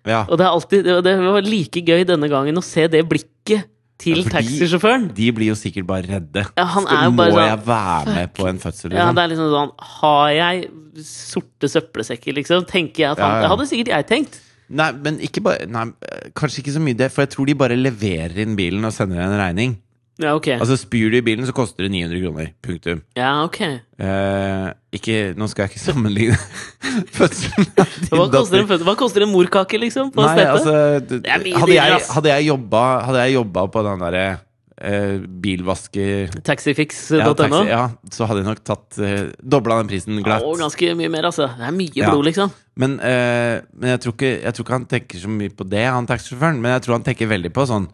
[SPEAKER 2] ja.
[SPEAKER 1] Og det, er alltid, og det var like gøy denne gangen å se det blikket til
[SPEAKER 2] Ja, fordi-
[SPEAKER 1] taxisjåføren.
[SPEAKER 2] De blir jo sikkert bare redde.
[SPEAKER 1] Ja, han
[SPEAKER 2] Skal-
[SPEAKER 1] er jo bare
[SPEAKER 2] Må
[SPEAKER 1] sånn,
[SPEAKER 2] jeg være med på en fødsel?
[SPEAKER 1] Ja,
[SPEAKER 2] Liksom?
[SPEAKER 1] det er liksom sånn Har jeg sorte søppelsekker, liksom? Tenker jeg at han
[SPEAKER 2] Ja, ja.
[SPEAKER 1] Det hadde sikkert jeg tenkt.
[SPEAKER 2] Nei, men ikke bare Nei, eh, kanskje ikke så mye det, for jeg tror de bare leverer inn bilen og sender en regning.
[SPEAKER 1] Ja, ok.
[SPEAKER 2] Altså, spyr du i bilen, så koster det 900 kroner. Punktum.
[SPEAKER 1] Ja, ok.
[SPEAKER 2] Eh, ikke Nå skal jeg ikke sammenligne (laughs) fødselen av
[SPEAKER 1] (laughs) Hva
[SPEAKER 2] din
[SPEAKER 1] koster, en,
[SPEAKER 2] datter.
[SPEAKER 1] fø- hva koster en morkake, liksom? På
[SPEAKER 2] Nei,
[SPEAKER 1] stedet?
[SPEAKER 2] altså d-
[SPEAKER 1] Det er mye
[SPEAKER 2] Hadde
[SPEAKER 1] dyrere,
[SPEAKER 2] jeg,
[SPEAKER 1] ass.
[SPEAKER 2] hadde jeg jobba Hadde jeg jobba på den derre eh, bilvasker... Ja,
[SPEAKER 1] Taxifix.no?
[SPEAKER 2] taxi, ja, så hadde jeg nok tatt eh, dobla den prisen glatt.
[SPEAKER 1] Å, ganske mye mer, altså. Det er mye
[SPEAKER 2] Ja.
[SPEAKER 1] blod, liksom.
[SPEAKER 2] Men, eh, men jeg, tror ikke, jeg tror ikke han tenker så mye på det, han taxisjåføren. Men jeg tror han tenker veldig på sånn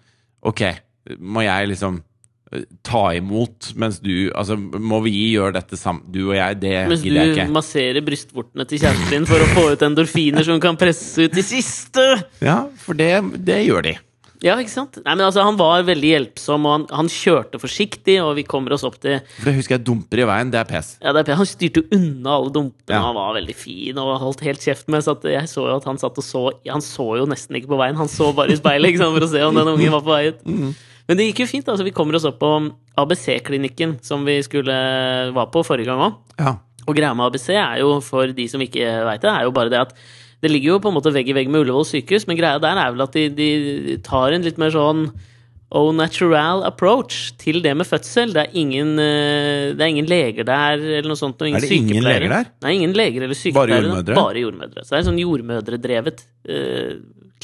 [SPEAKER 2] Ok, må jeg liksom eh, ta imot mens du Altså, må vi gjøre dette sammen, du og jeg? Det
[SPEAKER 1] Mens
[SPEAKER 2] gidder jeg
[SPEAKER 1] du
[SPEAKER 2] ikke.
[SPEAKER 1] masserer brystvortene til kjæresten din for å få ut endorfiner som kan presse ut de siste!
[SPEAKER 2] Ja, for det, det gjør de.
[SPEAKER 1] Ja, ikke sant? Nei, men altså, Han var veldig hjelpsom, og han, han kjørte forsiktig. Og vi kommer oss opp til
[SPEAKER 2] For det husker jeg dumper i veien, det er pes.
[SPEAKER 1] ja, det er, Han styrte jo unna alle dumpene,
[SPEAKER 2] Ja.
[SPEAKER 1] og han var veldig fin og holdt helt kjeft med. Så at jeg så jo at han satt og så Han så jo nesten ikke på veien, han så bare i speilet ikke sant, for å se om den ungen var på vei ut.
[SPEAKER 2] Mm.
[SPEAKER 1] Men det gikk jo fint. altså Vi kommer oss opp på ABC-klinikken, som vi skulle eh, var på forrige gang òg.
[SPEAKER 2] Ja.
[SPEAKER 1] Og greia med ABC er jo, for de som ikke veit det, er jo bare det at det ligger jo på en måte vegg i vegg med Ullevål sykehus, men greia der er vel at de, de tar en litt mer sånn au natural approach til det med fødsel. Det er ingen, eh, det er ingen leger der eller noe sånt. Og ingen
[SPEAKER 2] Er det ingen
[SPEAKER 1] sykepleiere.
[SPEAKER 2] leger der?
[SPEAKER 1] Nei, ingen leger eller sykepleiere.
[SPEAKER 2] jordmødre?
[SPEAKER 1] Bare jordmødre. Så det er en sånn jordmødredrevet eh,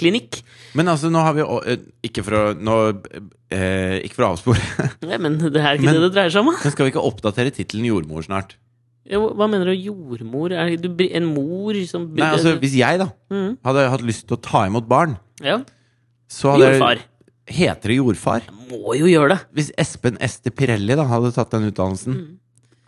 [SPEAKER 1] klinikk.
[SPEAKER 2] Men altså, nå har vi å- eh, Ikke for å nå, eh, Ikke for å avspore, (laughs)
[SPEAKER 1] Nei, men det er ikke
[SPEAKER 2] Men-
[SPEAKER 1] det det dreier seg om. da.
[SPEAKER 2] men skal vi ikke oppdatere tittelen jordmor snart?
[SPEAKER 1] Jo, Hva mener du jordmor? Er du bri- en mor som
[SPEAKER 2] Nei, altså, hvis jeg, da,
[SPEAKER 1] Mhm.
[SPEAKER 2] hadde hatt lyst til å ta imot barn,
[SPEAKER 1] Ja.
[SPEAKER 2] så hadde jeg-
[SPEAKER 1] Jordfar.
[SPEAKER 2] Heter det jordfar?
[SPEAKER 1] Må jo gjøre det.
[SPEAKER 2] Hvis Espen Ester Pirelli da hadde tatt den utdannelsen
[SPEAKER 1] Mm.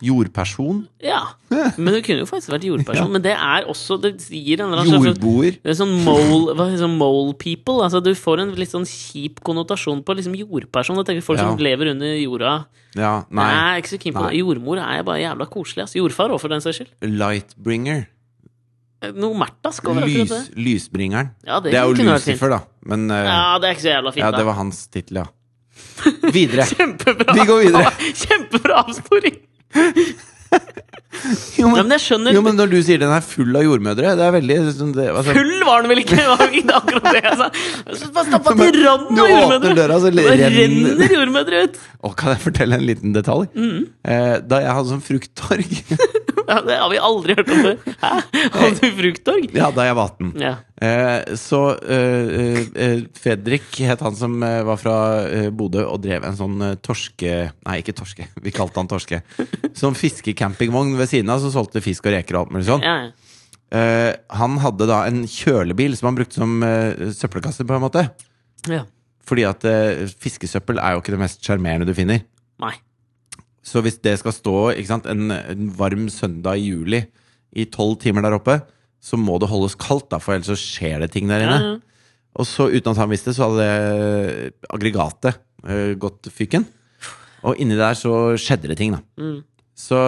[SPEAKER 2] Jordperson?
[SPEAKER 1] Ja, men det kunne jo faktisk vært jordperson. Men det er også Det gir en eller annen slags
[SPEAKER 2] Jordboer?
[SPEAKER 1] det er sånn mole, hva, heter det, sånn mole people. Altså Du får en litt sånn kjip konnotasjon på liksom jordperson. Da tenker vi folk
[SPEAKER 2] Ja.
[SPEAKER 1] som lever under jorda.
[SPEAKER 2] Ja,
[SPEAKER 1] Nei,
[SPEAKER 2] nei.
[SPEAKER 1] jeg er ikke så keen på
[SPEAKER 2] Nei.
[SPEAKER 1] det. Jordmor er bare jævla koselig. Ass. Jordfar òg, for den saks skyld. Eh,
[SPEAKER 2] Lightbringer.
[SPEAKER 1] Noe Märthask over akkurat
[SPEAKER 2] Lys,
[SPEAKER 1] det.
[SPEAKER 2] lysbringeren.
[SPEAKER 1] Ja, det,
[SPEAKER 2] Det er jo
[SPEAKER 1] kunne vært fint.
[SPEAKER 2] Lucifer, da. Men eh,
[SPEAKER 1] Ja, det er ikke så jævla fint,
[SPEAKER 2] ja, det
[SPEAKER 1] da.
[SPEAKER 2] var hans
[SPEAKER 1] (laughs)
[SPEAKER 2] tittel, ja. Videre.
[SPEAKER 1] Kjempebra!
[SPEAKER 2] Vi går videre.
[SPEAKER 1] (laughs) Kjempebra avsporing!
[SPEAKER 2] Jo,
[SPEAKER 1] Nei,
[SPEAKER 2] men,
[SPEAKER 1] men jeg skjønner.
[SPEAKER 2] jo, men når du sier den er full av jordmødre, det er veldig sånn, det, altså,
[SPEAKER 1] Full var den vel ikke? Det var jo ikke akkurat det jeg sa. Jeg synes Bare stappa
[SPEAKER 2] Men
[SPEAKER 1] til randen
[SPEAKER 2] du
[SPEAKER 1] av
[SPEAKER 2] åpner
[SPEAKER 1] jordmødre!
[SPEAKER 2] døra, så
[SPEAKER 1] Da
[SPEAKER 2] renner-
[SPEAKER 1] renner Mm. jordmødre ut!
[SPEAKER 2] Å, Kan jeg fortelle en liten detalj? Eh, da jeg hadde sånn frukttorg (laughs)
[SPEAKER 1] Ja, det har vi aldri hørt om før. Hæ? Hadde du frukttorg?
[SPEAKER 2] Ja, da jeg var 18.
[SPEAKER 1] Ja.
[SPEAKER 2] Eh, så eh, eh, Fredrik het han som eh, var fra eh, Bodø og drev en sånn eh, torske... Nei, ikke torske. (laughs) Vi kalte han torske. Sånn fiskecampingvogn ved siden av som solgte fisk og reker og alt mulig sånn.
[SPEAKER 1] ja.
[SPEAKER 2] Eh, han hadde da en kjølebil som han brukte som eh, søppelkasse, på en måte.
[SPEAKER 1] ja.
[SPEAKER 2] Fordi at eh, fiskesøppel er jo ikke det mest sjarmerende du finner.
[SPEAKER 1] Nei.
[SPEAKER 2] Så hvis det skal stå ikke sant, en, en varm søndag i juli i tolv timer der oppe, så må det holdes kaldt, da, for ellers så skjer det ting der
[SPEAKER 1] Ja,
[SPEAKER 2] inne.
[SPEAKER 1] ja.
[SPEAKER 2] Og så uten at han visste det, så hadde det aggregatet eh, gått fyken. Og inni der så skjedde det ting, da.
[SPEAKER 1] Mm.
[SPEAKER 2] Så,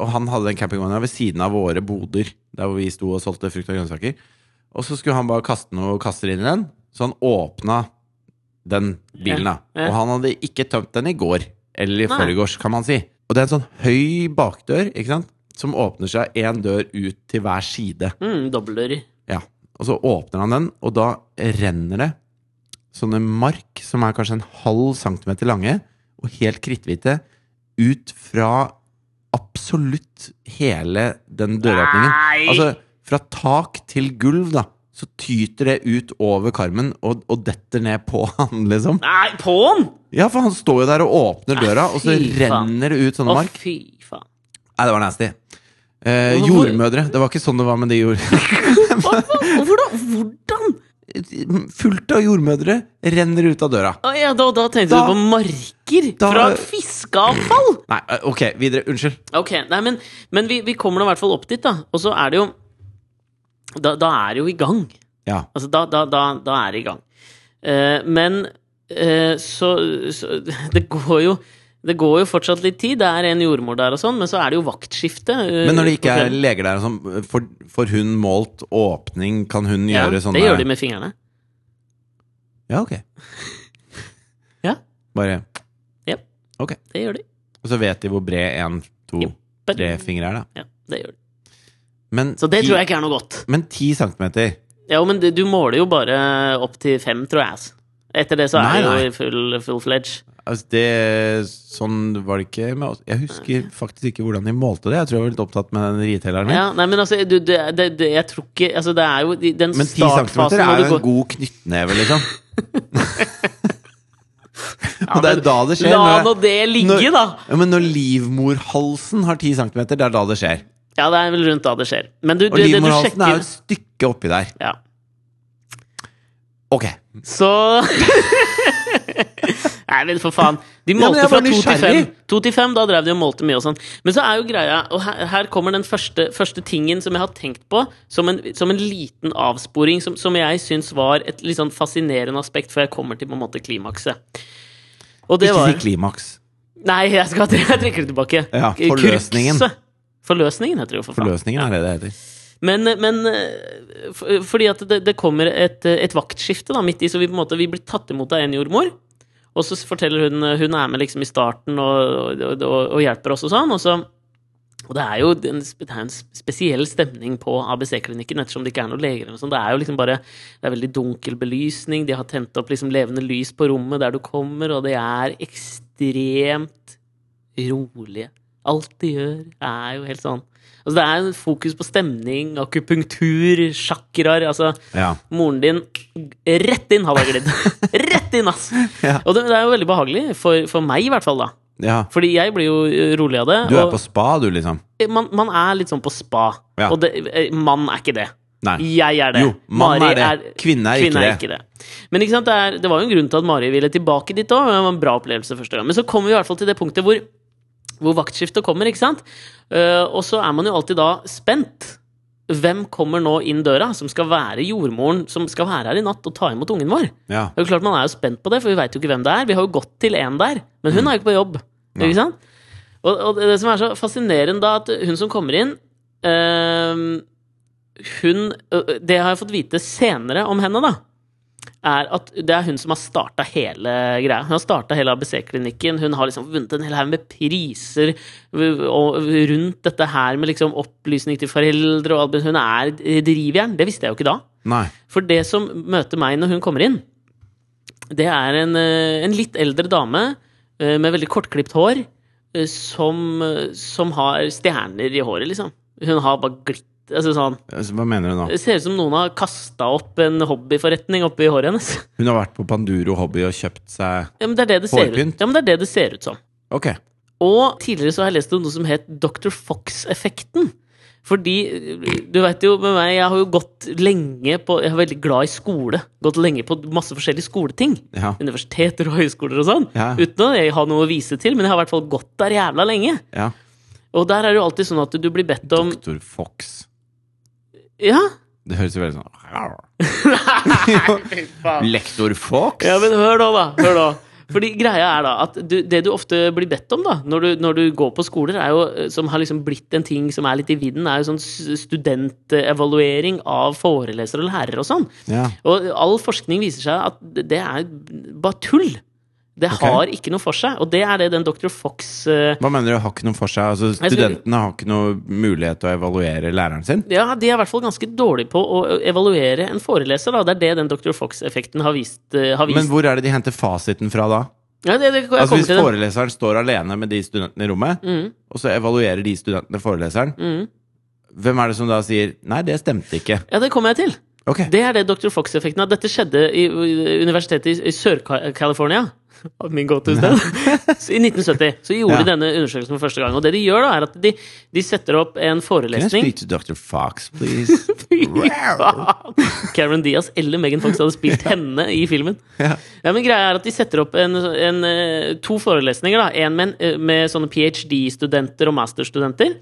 [SPEAKER 2] og han hadde den campingvogna ved siden av våre boder, der hvor vi sto og solgte frukt og grønnsaker. Og så skulle han bare kaste noe kaster inn i den, så han åpna den bilen, da.
[SPEAKER 1] Ja, ja.
[SPEAKER 2] Og han hadde ikke tømt den i går, eller i
[SPEAKER 1] Nei.
[SPEAKER 2] forgårs, kan man si. Og det er en sånn høy bakdør, ikke sant, som åpner seg én dør ut til hver side.
[SPEAKER 1] Mm, Dobbeltdører.
[SPEAKER 2] Ja, og så åpner han den, og da renner det sånne mark som er kanskje en halv centimeter lange, og helt kritthvite, ut fra absolutt hele den døråpningen.
[SPEAKER 1] Nei!
[SPEAKER 2] Altså fra tak til gulv, da, så tyter det ut over karmen og, og detter ned på (laughs) han, liksom.
[SPEAKER 1] Nei, på'n!
[SPEAKER 2] Ja, for han står jo der og åpner døra, og så
[SPEAKER 1] fy faen.
[SPEAKER 2] renner det ut
[SPEAKER 1] Å,
[SPEAKER 2] sånne mark.
[SPEAKER 1] fy faen.
[SPEAKER 2] Nei, det var nasty. Eh,
[SPEAKER 1] Hvor-
[SPEAKER 2] jordmødre. Det var ikke sånn det var med de jord... (laughs)
[SPEAKER 1] Hva- hva- Hvordan? hvordan?
[SPEAKER 2] fullt av jordmødre renner ut av døra.
[SPEAKER 1] Å, ja, da, da tenkte
[SPEAKER 2] Da-
[SPEAKER 1] du på marker
[SPEAKER 2] da-
[SPEAKER 1] fra fiskeavfall!
[SPEAKER 2] Nei, eh, ok, videre. Unnskyld.
[SPEAKER 1] Ok, nei, men, men vi, vi kommer nå i hvert fall opp dit, da. Og så er det jo Da, da er det jo i gang.
[SPEAKER 2] Ja.
[SPEAKER 1] Altså, da, da, da, da er det i gang. Eh, men eh, så, så (laughs) Det går jo det går jo fortsatt litt tid. Det er en jordmor der, og sånn, men så er det jo vaktskifte. eh,
[SPEAKER 2] Men når det ikke
[SPEAKER 1] på
[SPEAKER 2] er
[SPEAKER 1] kvelden.
[SPEAKER 2] leger der, og sånn, får, får hun målt åpning? Kan hun
[SPEAKER 1] ja,
[SPEAKER 2] gjøre sånn
[SPEAKER 1] Det
[SPEAKER 2] sånne
[SPEAKER 1] gjør de med fingrene.
[SPEAKER 2] Ja, ok.
[SPEAKER 1] Ja.
[SPEAKER 2] Bare
[SPEAKER 1] Jep.
[SPEAKER 2] Ok.
[SPEAKER 1] Det gjør de.
[SPEAKER 2] Og så vet de hvor bred én, to,
[SPEAKER 1] Jep. Bare-
[SPEAKER 2] tre fingre er, da.
[SPEAKER 1] Ja, det gjør de.
[SPEAKER 2] Men,
[SPEAKER 1] Så det tror jeg ikke er noe godt.
[SPEAKER 2] men ti centimeter
[SPEAKER 1] Ja, men du- du måler jo bare opp til fem, tror jeg. ass. Etter det så er
[SPEAKER 2] Nei,
[SPEAKER 1] det
[SPEAKER 2] nei.
[SPEAKER 1] jo i full, full fledge.
[SPEAKER 2] altså det, Sånn var det ikke med oss. Jeg husker faktisk ikke hvordan de målte det. Jeg tror jeg var litt opptatt med den rietelleren min.
[SPEAKER 1] Ja, nei, men altså, du, det, det, det, jeg tror ikke Altså, det er jo i den
[SPEAKER 2] Men ti
[SPEAKER 1] startfasen
[SPEAKER 2] centimeter
[SPEAKER 1] når
[SPEAKER 2] er
[SPEAKER 1] du
[SPEAKER 2] jo
[SPEAKER 1] går
[SPEAKER 2] en god knyttneve,
[SPEAKER 1] (laughs)
[SPEAKER 2] liksom.
[SPEAKER 1] Ja,
[SPEAKER 2] Og det er
[SPEAKER 1] men
[SPEAKER 2] da det skjer.
[SPEAKER 1] La
[SPEAKER 2] når
[SPEAKER 1] nå
[SPEAKER 2] jeg-
[SPEAKER 1] det ligge,
[SPEAKER 2] når-
[SPEAKER 1] da!
[SPEAKER 2] Ja, men når livmorhalsen har 10 cm, det er da det skjer.
[SPEAKER 1] Ja, det er vel rundt da det skjer. Men du,
[SPEAKER 2] Og
[SPEAKER 1] du, det du
[SPEAKER 2] livmorhalsen er jo
[SPEAKER 1] sjekker
[SPEAKER 2] et stykke oppi der.
[SPEAKER 1] ja.
[SPEAKER 2] Ok.
[SPEAKER 1] Så (laughs) Nei, men for faen. De
[SPEAKER 2] men
[SPEAKER 1] målte
[SPEAKER 2] jeg
[SPEAKER 1] fra
[SPEAKER 2] var
[SPEAKER 1] to til fem.
[SPEAKER 2] nysgjerrig.
[SPEAKER 1] To til fem, da drev de og målte mye og sånn. Men så er jo greia Og her, her kommer den første, første tingen som jeg har tenkt på, som en, som en liten avsporing, som, som jeg syns var et litt sånn fascinerende aspekt før jeg kommer til på en måte klimakset. Og det
[SPEAKER 2] Ikke
[SPEAKER 1] var
[SPEAKER 2] si klimaks.
[SPEAKER 1] Nei, jeg, skal, (laughs) jeg trekker det tilbake.
[SPEAKER 2] Ja, forløsningen.
[SPEAKER 1] Kurkse. Forløsningen heter det jo, for faen.
[SPEAKER 2] Forløsningen er det det heter.
[SPEAKER 1] Men, men eh, for- fordi at det, det kommer et, eh, et vaktskifte da, midt i, så vi, på en måte, vi blir tatt imot av en jordmor. Og så forteller hun Hun er med liksom i starten og, og, og, og hjelper oss og sånn. Og, så, og det er jo en, sp- det er en sp- spesiell stemning på ABC-klinikken ettersom det ikke er noen leger. eller noe sånt. Det er jo liksom bare Det er veldig dunkel belysning. De har tent opp liksom levende lys på rommet der du kommer, og det er ekstremt rolige. Alt de gjør, er jo helt sånn Altså Det er fokus på stemning, akupunktur, sjakraer altså,
[SPEAKER 2] Ja.
[SPEAKER 1] Moren din rett inn, hadde glidd!
[SPEAKER 2] (laughs)
[SPEAKER 1] rett inn, ass!
[SPEAKER 2] Ja.
[SPEAKER 1] Og det, det er jo veldig behagelig, for, for meg i hvert fall. da
[SPEAKER 2] ja.
[SPEAKER 1] Fordi jeg blir jo eh, rolig av det.
[SPEAKER 2] Du er
[SPEAKER 1] og
[SPEAKER 2] på spa, du, liksom.
[SPEAKER 1] man, man er litt sånn på spa.
[SPEAKER 2] Ja.
[SPEAKER 1] Og det, eh, mann er ikke det.
[SPEAKER 2] Nei.
[SPEAKER 1] Jeg er det.
[SPEAKER 2] Jo, mann
[SPEAKER 1] Mari
[SPEAKER 2] er det. Kvinne er
[SPEAKER 1] Kvinne er
[SPEAKER 2] ikke det.
[SPEAKER 1] ikke det. Men ikke sant, det, er, det var jo en grunn til at Mari ville tilbake dit òg. Det var en bra opplevelse første gang. Men så kommer vi i hvert fall til det punktet hvor, hvor vaktskiftet kommer. ikke sant? Eh, og så er man jo alltid da spent. Hvem kommer nå inn døra, som skal være jordmoren som skal være her i natt og ta imot ungen vår?
[SPEAKER 2] Ja.
[SPEAKER 1] Det er jo klart Man er jo spent på det, for vi veit jo ikke hvem det er. Vi har jo gått til en der, men hun er jo ikke på jobb.
[SPEAKER 2] Mm. Nei.
[SPEAKER 1] Ikke sant? Og, og det som er så fascinerende, da, at hun som kommer inn ehm, Hun øh, Det har jeg fått vite senere om henne, da. Er at det er hun som har starta hele greia. Hun har starta hele ABC-klinikken. Hun har liksom vunnet en hel haug med priser øh, og rundt dette her med liksom opplysning til foreldre og alt. Hun er et drivjern. Det visste jeg jo ikke da.
[SPEAKER 2] Nei.
[SPEAKER 1] For det som møter meg når hun kommer inn, det er en, eh, en litt eldre dame eh, med veldig kortklipt hår eh, som, eh, som har stjerner i håret, liksom. Hun har bare glitt altså sånn.
[SPEAKER 2] Altså, Hva mener du nå?
[SPEAKER 1] Det ser ut som noen har kasta opp en hobbyforretning oppi håret hennes. (laughs)
[SPEAKER 2] Hun har vært på Panduro Hobby og kjøpt seg
[SPEAKER 1] Ja, men det er det det ser ut,
[SPEAKER 2] Hårpynt?
[SPEAKER 1] ja, men det er det det ser ut som.
[SPEAKER 2] Ok.
[SPEAKER 1] Og tidligere så har jeg lest om noe som het Dr. Fox-effekten. Fordi, eh, du vet jo med meg, jeg har jo gått lenge på Jeg er veldig glad i skole. Gått lenge på masse forskjellige skoleting.
[SPEAKER 2] Ja.
[SPEAKER 1] Universiteter og høyskoler og sånn.
[SPEAKER 2] Ja.
[SPEAKER 1] Uten å ha noe å vise til, men jeg har i hvert fall gått der jævla lenge.
[SPEAKER 2] ja.
[SPEAKER 1] Og der er det jo alltid sånn at du blir bedt om
[SPEAKER 2] Doktor Fox.
[SPEAKER 1] Ja,
[SPEAKER 2] Det høres jo veldig sånn
[SPEAKER 1] Fy faen.
[SPEAKER 2] Lektor Fox?
[SPEAKER 1] Ja, men hør nå, da. Hør nå. Fordi greia er da at du, Det du ofte blir bedt om da når du, når du går på skoler, er jo, eh, som har liksom blitt en ting som er litt i vinden, er jo sånn s- studentevaluering av forelesere og lærere og sånn.
[SPEAKER 2] Ja.
[SPEAKER 1] Og all forskning viser seg at det er bare tull. Det
[SPEAKER 2] Ok.
[SPEAKER 1] har ikke noe for seg. Og det er det den Dr. Fox eh,
[SPEAKER 2] Hva mener du har ikke noe for seg? Altså,
[SPEAKER 1] Jeg tror-
[SPEAKER 2] studentene har ikke noe mulighet til å evaluere læreren sin?
[SPEAKER 1] Ja, de er i hvert fall ganske dårlige på å evaluere en foreleser. Da. Det er det den Dr. Fox-effekten har vist. eh, Har vist.
[SPEAKER 2] Men hvor er det de henter fasiten fra da?
[SPEAKER 1] ja, det, det, jeg
[SPEAKER 2] Altså
[SPEAKER 1] kommer
[SPEAKER 2] Hvis
[SPEAKER 1] til den.
[SPEAKER 2] foreleseren står alene med de studentene i rommet, og så evaluerer de studentene foreleseren,
[SPEAKER 1] Mm.
[SPEAKER 2] hvem er det som da sier 'nei, det stemte ikke'?
[SPEAKER 1] Ja, det kommer jeg til.
[SPEAKER 2] Ok,
[SPEAKER 1] Det er det Dr. Fox-effekten er. Dette skjedde i i universitetet i- i Sør-California. Min go-to-sted. Så (laughs) I 1970 så gjorde
[SPEAKER 2] Ja.
[SPEAKER 1] de denne undersøkelsen for første gang. Og det de gjør, da, er at de, de setter opp en
[SPEAKER 2] Can I
[SPEAKER 1] forelesning
[SPEAKER 2] speak to Dr. Fox, please?
[SPEAKER 1] (laughs)
[SPEAKER 2] Wow.
[SPEAKER 1] Karen Diaz eller Megan Fox hadde spilt henne i filmen.
[SPEAKER 2] Ja.
[SPEAKER 1] Ja, men greia er at De setter opp en, en, eh, to forelesninger. da, En med, en, eh, med sånne ph.d.-studenter og masterstudenter.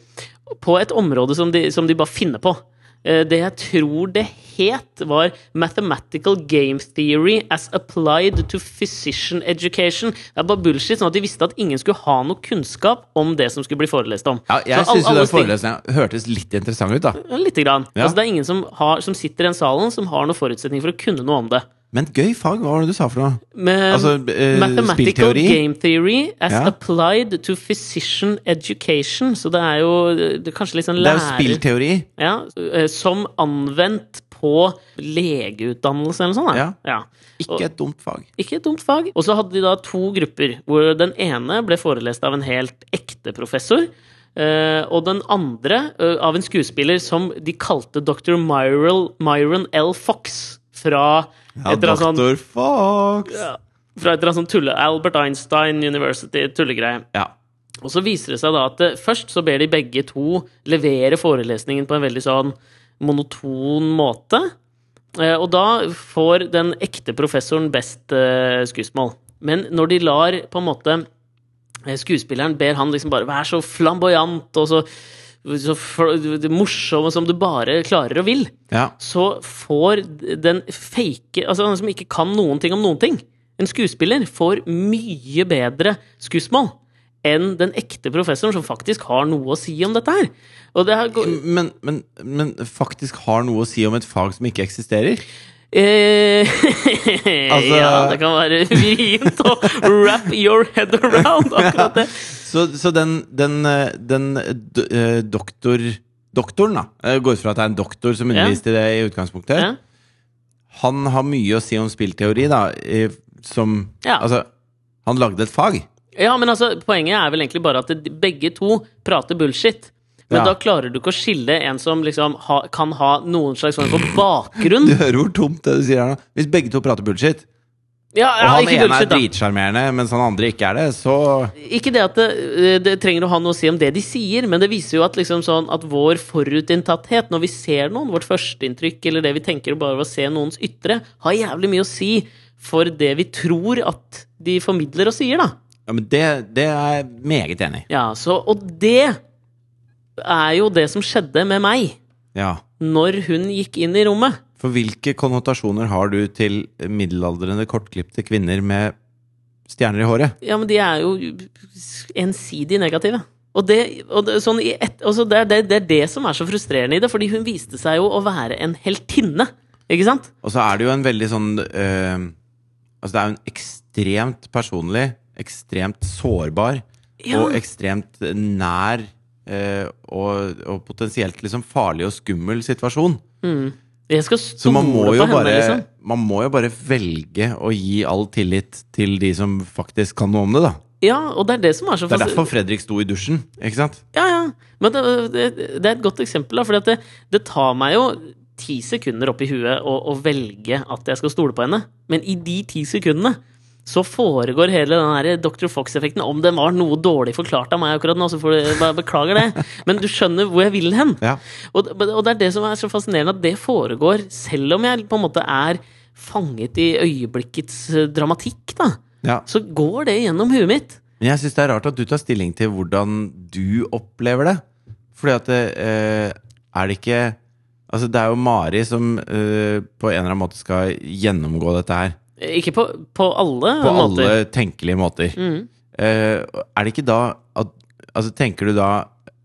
[SPEAKER 1] På et område som de, som de bare finner på. Eh, Det jeg tror det het, var 'Mathematical Game Theory as Applied to Physician Education'. Det er bare bullshit, sånn at de visste at ingen skulle ha noe kunnskap om det som skulle bli forelest om.
[SPEAKER 2] Ja, jeg
[SPEAKER 1] Så alle-
[SPEAKER 2] syns jo
[SPEAKER 1] alle
[SPEAKER 2] den
[SPEAKER 1] sting-
[SPEAKER 2] forelesningen hørtes litt interessant ut, da.
[SPEAKER 1] ja, Lite grann.
[SPEAKER 2] Ja.
[SPEAKER 1] Altså, det er ingen som, har, som sitter i den salen som har noen forutsetning for å kunne noe om det.
[SPEAKER 2] Men gøy fag, hva var det du sa for noe?
[SPEAKER 1] Men,
[SPEAKER 2] Altså, eh,
[SPEAKER 1] mathematical
[SPEAKER 2] spillteori?
[SPEAKER 1] game theory as
[SPEAKER 2] Ja.
[SPEAKER 1] applied to physician education. Så det er jo det er kanskje litt sånn
[SPEAKER 2] Det er jo
[SPEAKER 1] lærer-
[SPEAKER 2] spillteori.
[SPEAKER 1] Ja, eh, som anvendt på legeutdannelse eller noe sånt. da. ja. Og-
[SPEAKER 2] Ikke et dumt fag.
[SPEAKER 1] Ikke et dumt fag. Og så hadde de da to grupper, hvor den ene ble forelest av en helt ekte professor. eh, og den andre eh, av en skuespiller som de kalte dr. Myral, Myron L. Fox. Fra
[SPEAKER 2] Ja,
[SPEAKER 1] et eller annet sånn-
[SPEAKER 2] Dr. Fox!
[SPEAKER 1] ja, fra et eller annet sånn tulle Albert Einstein University, tullegreie.
[SPEAKER 2] Ja.
[SPEAKER 1] Og så viser det seg da at eh, først så ber de begge to levere forelesningen på en veldig sånn monoton måte. Eh, Og da får den ekte professoren best eh, skussmål. Men når de lar på en måte eh, skuespilleren ber han liksom bare være så flamboyant og så, så fl- morsom som du bare klarer og vil
[SPEAKER 2] ja.
[SPEAKER 1] så får den fake Altså han som ikke kan noen ting om noen ting. En skuespiller får mye bedre skussmål enn den ekte professoren som faktisk har noe å si om dette her. Og det her går,
[SPEAKER 2] Men, men, men faktisk har noe å si om et fag som ikke eksisterer?
[SPEAKER 1] eh, (laughs)
[SPEAKER 2] Altså-
[SPEAKER 1] Ja, det kan være vrient å wrap your head around akkurat det.
[SPEAKER 2] Så, så den, den, eh, den eh, d- eh, doktor, doktoren, da Jeg går ut fra at det er en doktor som
[SPEAKER 1] Ja.
[SPEAKER 2] underviste i det i utgangspunktet.
[SPEAKER 1] Ja.
[SPEAKER 2] Han har mye å si om spillteori, da. i- Som
[SPEAKER 1] Ja.
[SPEAKER 2] Altså, han lagde et fag.
[SPEAKER 1] Ja, men altså, poenget er vel egentlig bare at de- begge to prater bullshit. Men
[SPEAKER 2] Ja.
[SPEAKER 1] da klarer du ikke å skille en som liksom ha, kan ha noen slags form for bakgrunn
[SPEAKER 2] Du hører hvor tomt det du sier her nå. Hvis begge to prater bullshit,
[SPEAKER 1] Ja,
[SPEAKER 2] og
[SPEAKER 1] ja,
[SPEAKER 2] han
[SPEAKER 1] ikke
[SPEAKER 2] ene
[SPEAKER 1] bullshit,
[SPEAKER 2] er
[SPEAKER 1] da.
[SPEAKER 2] dritsjarmerende, mens han andre ikke er det, så
[SPEAKER 1] Ikke det at det, det trenger å ha noe å si om det de sier, men det viser jo at, liksom sånn, at vår forutinntatthet når vi ser noen, vårt førsteinntrykk eller det vi tenker bare ved å se noens ytre, har jævlig mye å si for det vi tror at de formidler og sier, da.
[SPEAKER 2] ja, men det, det er jeg meget enig i.
[SPEAKER 1] Ja, så, og det er jo det som skjedde med meg
[SPEAKER 2] Ja.
[SPEAKER 1] når hun gikk inn i rommet.
[SPEAKER 2] For hvilke konnotasjoner har du til middelaldrende, kortklipte kvinner med stjerner i håret?
[SPEAKER 1] Ja, men de er jo ensidig negative. Og det, og det, sånn i et, altså det, er det, det er det som er så frustrerende i det, fordi hun viste seg jo å være en heltinne. Ikke sant?
[SPEAKER 2] Og så er det jo en veldig sånn eh, Altså, det er jo en ekstremt personlig, ekstremt sårbar
[SPEAKER 1] Ja.
[SPEAKER 2] og ekstremt nær eh, og, og potensielt liksom farlig og skummel situasjon.
[SPEAKER 1] Jeg skal
[SPEAKER 2] Så
[SPEAKER 1] stole
[SPEAKER 2] man må,
[SPEAKER 1] på
[SPEAKER 2] jo
[SPEAKER 1] henne,
[SPEAKER 2] bare,
[SPEAKER 1] liksom.
[SPEAKER 2] man må jo bare velge å gi all tillit til de som faktisk kan noe om det, da.
[SPEAKER 1] Ja, og det er det som er så
[SPEAKER 2] Det er
[SPEAKER 1] fas-
[SPEAKER 2] derfor Fredrik sto i dusjen, ikke sant?
[SPEAKER 1] Ja, ja. Men det, det, det er et godt eksempel, da. For det, det tar meg jo ti sekunder opp i huet å, å velge at jeg skal stole på henne. Men i de ti sekundene så foregår hele den her Dr. Fox-effekten. Om den var noe dårlig forklart av meg akkurat nå, så får du bare beklager det. Men du skjønner hvor jeg vil hen.
[SPEAKER 2] Ja.
[SPEAKER 1] Og, og det er det som er så fascinerende, at det foregår selv om jeg på en måte er fanget i øyeblikkets eh, dramatikk, da.
[SPEAKER 2] Ja.
[SPEAKER 1] Så går det gjennom huet mitt.
[SPEAKER 2] Men jeg syns det er rart at du tar stilling til hvordan du opplever det. Fordi at det, eh, er det ikke Altså, det er jo Mari som eh, på en eller annen måte skal gjennomgå dette her.
[SPEAKER 1] Ikke på, på alle
[SPEAKER 2] På
[SPEAKER 1] måter.
[SPEAKER 2] alle tenkelige måter.
[SPEAKER 1] Mhm.
[SPEAKER 2] Eh, er det ikke da at Altså, tenker du da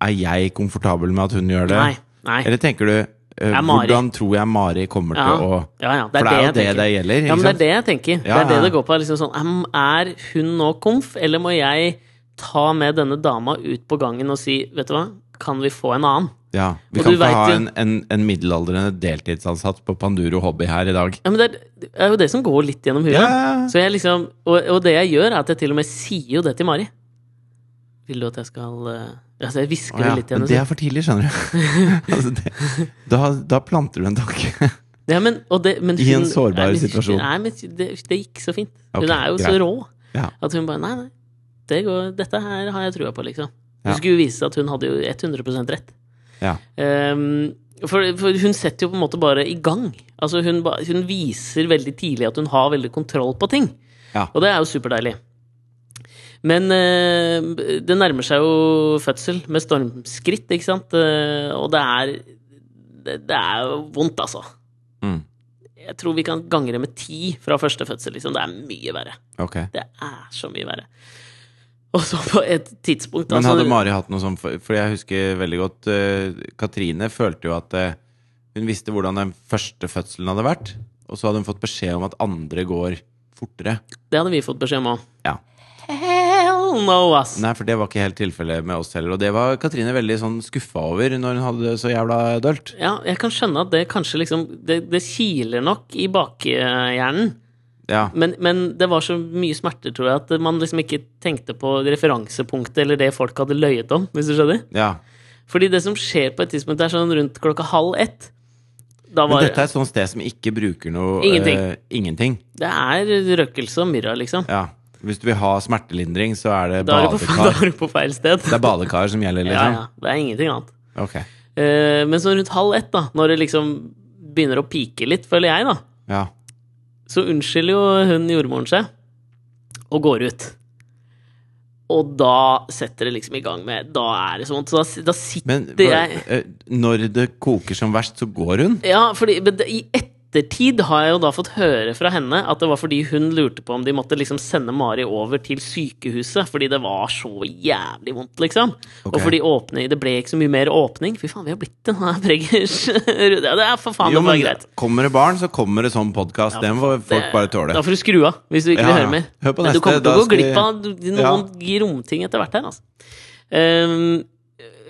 [SPEAKER 2] Er jeg komfortabel med at hun gjør det?
[SPEAKER 1] Nei. nei.
[SPEAKER 2] Eller tenker du eh,
[SPEAKER 1] Er Mari-
[SPEAKER 2] Hvordan tror jeg Mari kommer til å
[SPEAKER 1] Ja, ja, det
[SPEAKER 2] For
[SPEAKER 1] er
[SPEAKER 2] det er jo
[SPEAKER 1] det,
[SPEAKER 2] det
[SPEAKER 1] jeg tenker.
[SPEAKER 2] det gjelder.
[SPEAKER 1] Ja,
[SPEAKER 2] ikke
[SPEAKER 1] men det er
[SPEAKER 2] sant?
[SPEAKER 1] det jeg tenker.
[SPEAKER 2] Ja,
[SPEAKER 1] det er det
[SPEAKER 2] ja.
[SPEAKER 1] det går på. er Liksom sånn, em, er hun nå komf, eller må jeg ta med denne dama ut på gangen og si Vet du hva, kan vi få en annen?
[SPEAKER 2] Ja, Vi
[SPEAKER 1] Og
[SPEAKER 2] kan
[SPEAKER 1] du
[SPEAKER 2] ikke
[SPEAKER 1] vet
[SPEAKER 2] ha
[SPEAKER 1] jo-
[SPEAKER 2] en, en, en middelaldrende deltidsansatt på Panduro Hobby her i dag.
[SPEAKER 1] Ja, men det er, det er jo det som går litt gjennom huet.
[SPEAKER 2] Ja.
[SPEAKER 1] Så jeg liksom, og, og det jeg gjør, er at jeg til og med sier jo det til Mari. Vil du at jeg skal eh, Altså, jeg
[SPEAKER 2] Å,
[SPEAKER 1] hvisker
[SPEAKER 2] ja.
[SPEAKER 1] det litt til
[SPEAKER 2] Men
[SPEAKER 1] henne.
[SPEAKER 2] det
[SPEAKER 1] så-
[SPEAKER 2] er for tidlig, skjønner du.
[SPEAKER 1] (laughs)
[SPEAKER 2] altså det, da, da planter du en tanke.
[SPEAKER 1] Ja, men, og det, men
[SPEAKER 2] I en
[SPEAKER 1] hun-
[SPEAKER 2] sårbar
[SPEAKER 1] nei, men-
[SPEAKER 2] situasjon.
[SPEAKER 1] Nei, men det, det gikk så fint.
[SPEAKER 2] Ok,
[SPEAKER 1] hun er jo så
[SPEAKER 2] greit.
[SPEAKER 1] rå
[SPEAKER 2] Ja.
[SPEAKER 1] at hun bare Nei, nei. Det går, dette her har jeg trua på, liksom. Det
[SPEAKER 2] Ja.
[SPEAKER 1] skulle jo vise seg at hun hadde jo 100 rett.
[SPEAKER 2] Ja.
[SPEAKER 1] Ehm, for, for hun setter jo på en måte bare i gang. Altså hun, ba- hun viser veldig tidlig at hun har veldig kontroll på ting.
[SPEAKER 2] Ja.
[SPEAKER 1] Og det er jo superdeilig. Men eh, det nærmer seg jo fødsel med stormskritt, ikke sant? Eh, og det er det, det er jo vondt, altså.
[SPEAKER 2] Mm.
[SPEAKER 1] Jeg tror vi kan gange det med ti fra første fødsel. Liksom. Det er mye verre.
[SPEAKER 2] Ok.
[SPEAKER 1] Det er så mye verre. Og så på et tidspunkt
[SPEAKER 2] Men
[SPEAKER 1] altså-
[SPEAKER 2] hadde Mari hatt noe sånt For for jeg husker veldig godt eh, Katrine følte jo at eh, hun visste hvordan den første fødselen hadde vært. Og så hadde hun fått beskjed om at andre går fortere.
[SPEAKER 1] Det hadde vi fått beskjed om òg.
[SPEAKER 2] Ja.
[SPEAKER 1] Hell no, ass!
[SPEAKER 2] Nei, for det var ikke helt tilfellet med oss heller. Og det var Katrine veldig sånn skuffa over når hun hadde det så jævla dølt.
[SPEAKER 1] Ja, jeg kan skjønne at det kanskje liksom Det, det kiler nok i bakhjernen.
[SPEAKER 2] Ja.
[SPEAKER 1] Men, men det var så mye smerter, tror jeg, at man liksom ikke tenkte på referansepunktet eller det folk hadde løyet om, hvis du skjønner.
[SPEAKER 2] ja.
[SPEAKER 1] Fordi det som skjer på et tidspunkt, det er sånn rundt klokka halv ett. Da
[SPEAKER 2] Men
[SPEAKER 1] var
[SPEAKER 2] dette er et sånt sted som ikke bruker noe
[SPEAKER 1] Ingenting.
[SPEAKER 2] eh, ingenting.
[SPEAKER 1] Det er røkelse og myrra, liksom.
[SPEAKER 2] Ja. Hvis du vil ha smertelindring, så er det
[SPEAKER 1] Da er, du på, (laughs) da
[SPEAKER 2] badekar.
[SPEAKER 1] er du på feil sted.
[SPEAKER 2] Det er badekar som gjelder,
[SPEAKER 1] Ja,
[SPEAKER 2] liksom?
[SPEAKER 1] ja. Det er ingenting annet.
[SPEAKER 2] Ok.
[SPEAKER 1] Eh, Men sånn rundt halv ett, da, når det liksom begynner å pike litt, føler jeg, da.
[SPEAKER 2] Ja.
[SPEAKER 1] Så unnskylder jo hun jordmoren seg, og går ut. Og da setter det liksom i gang med Da er det sånn. Så da, da sitter
[SPEAKER 2] Men
[SPEAKER 1] jeg
[SPEAKER 2] hva- eh, når det koker som verst, så går hun?
[SPEAKER 1] Ja, fordi men det- i ettertid har jeg jo da fått høre fra henne at det var fordi hun lurte på om de måtte liksom sende Mari over til sykehuset, fordi det var så jævlig vondt, liksom.
[SPEAKER 2] Ok.
[SPEAKER 1] Og fordi åpne, det ble ikke så mye mer åpning. Fy faen, vi har blitt en sånn her (laughs) preggers... Ja, det er for faen,
[SPEAKER 2] Jo,
[SPEAKER 1] det var
[SPEAKER 2] men
[SPEAKER 1] greit.
[SPEAKER 2] kommer det barn, så kommer det sånn podkast.
[SPEAKER 1] Ja,
[SPEAKER 2] Den får folk
[SPEAKER 1] Det-
[SPEAKER 2] bare tåle.
[SPEAKER 1] Da får du skru av, hvis du ikke
[SPEAKER 2] Ja,
[SPEAKER 1] vil
[SPEAKER 2] ja.
[SPEAKER 1] høre mer.
[SPEAKER 2] Hør på
[SPEAKER 1] Men
[SPEAKER 2] neste,
[SPEAKER 1] du kommer til å
[SPEAKER 2] da
[SPEAKER 1] gå
[SPEAKER 2] skal vi-
[SPEAKER 1] glipp av noen romting etter hvert her, altså. Ehm,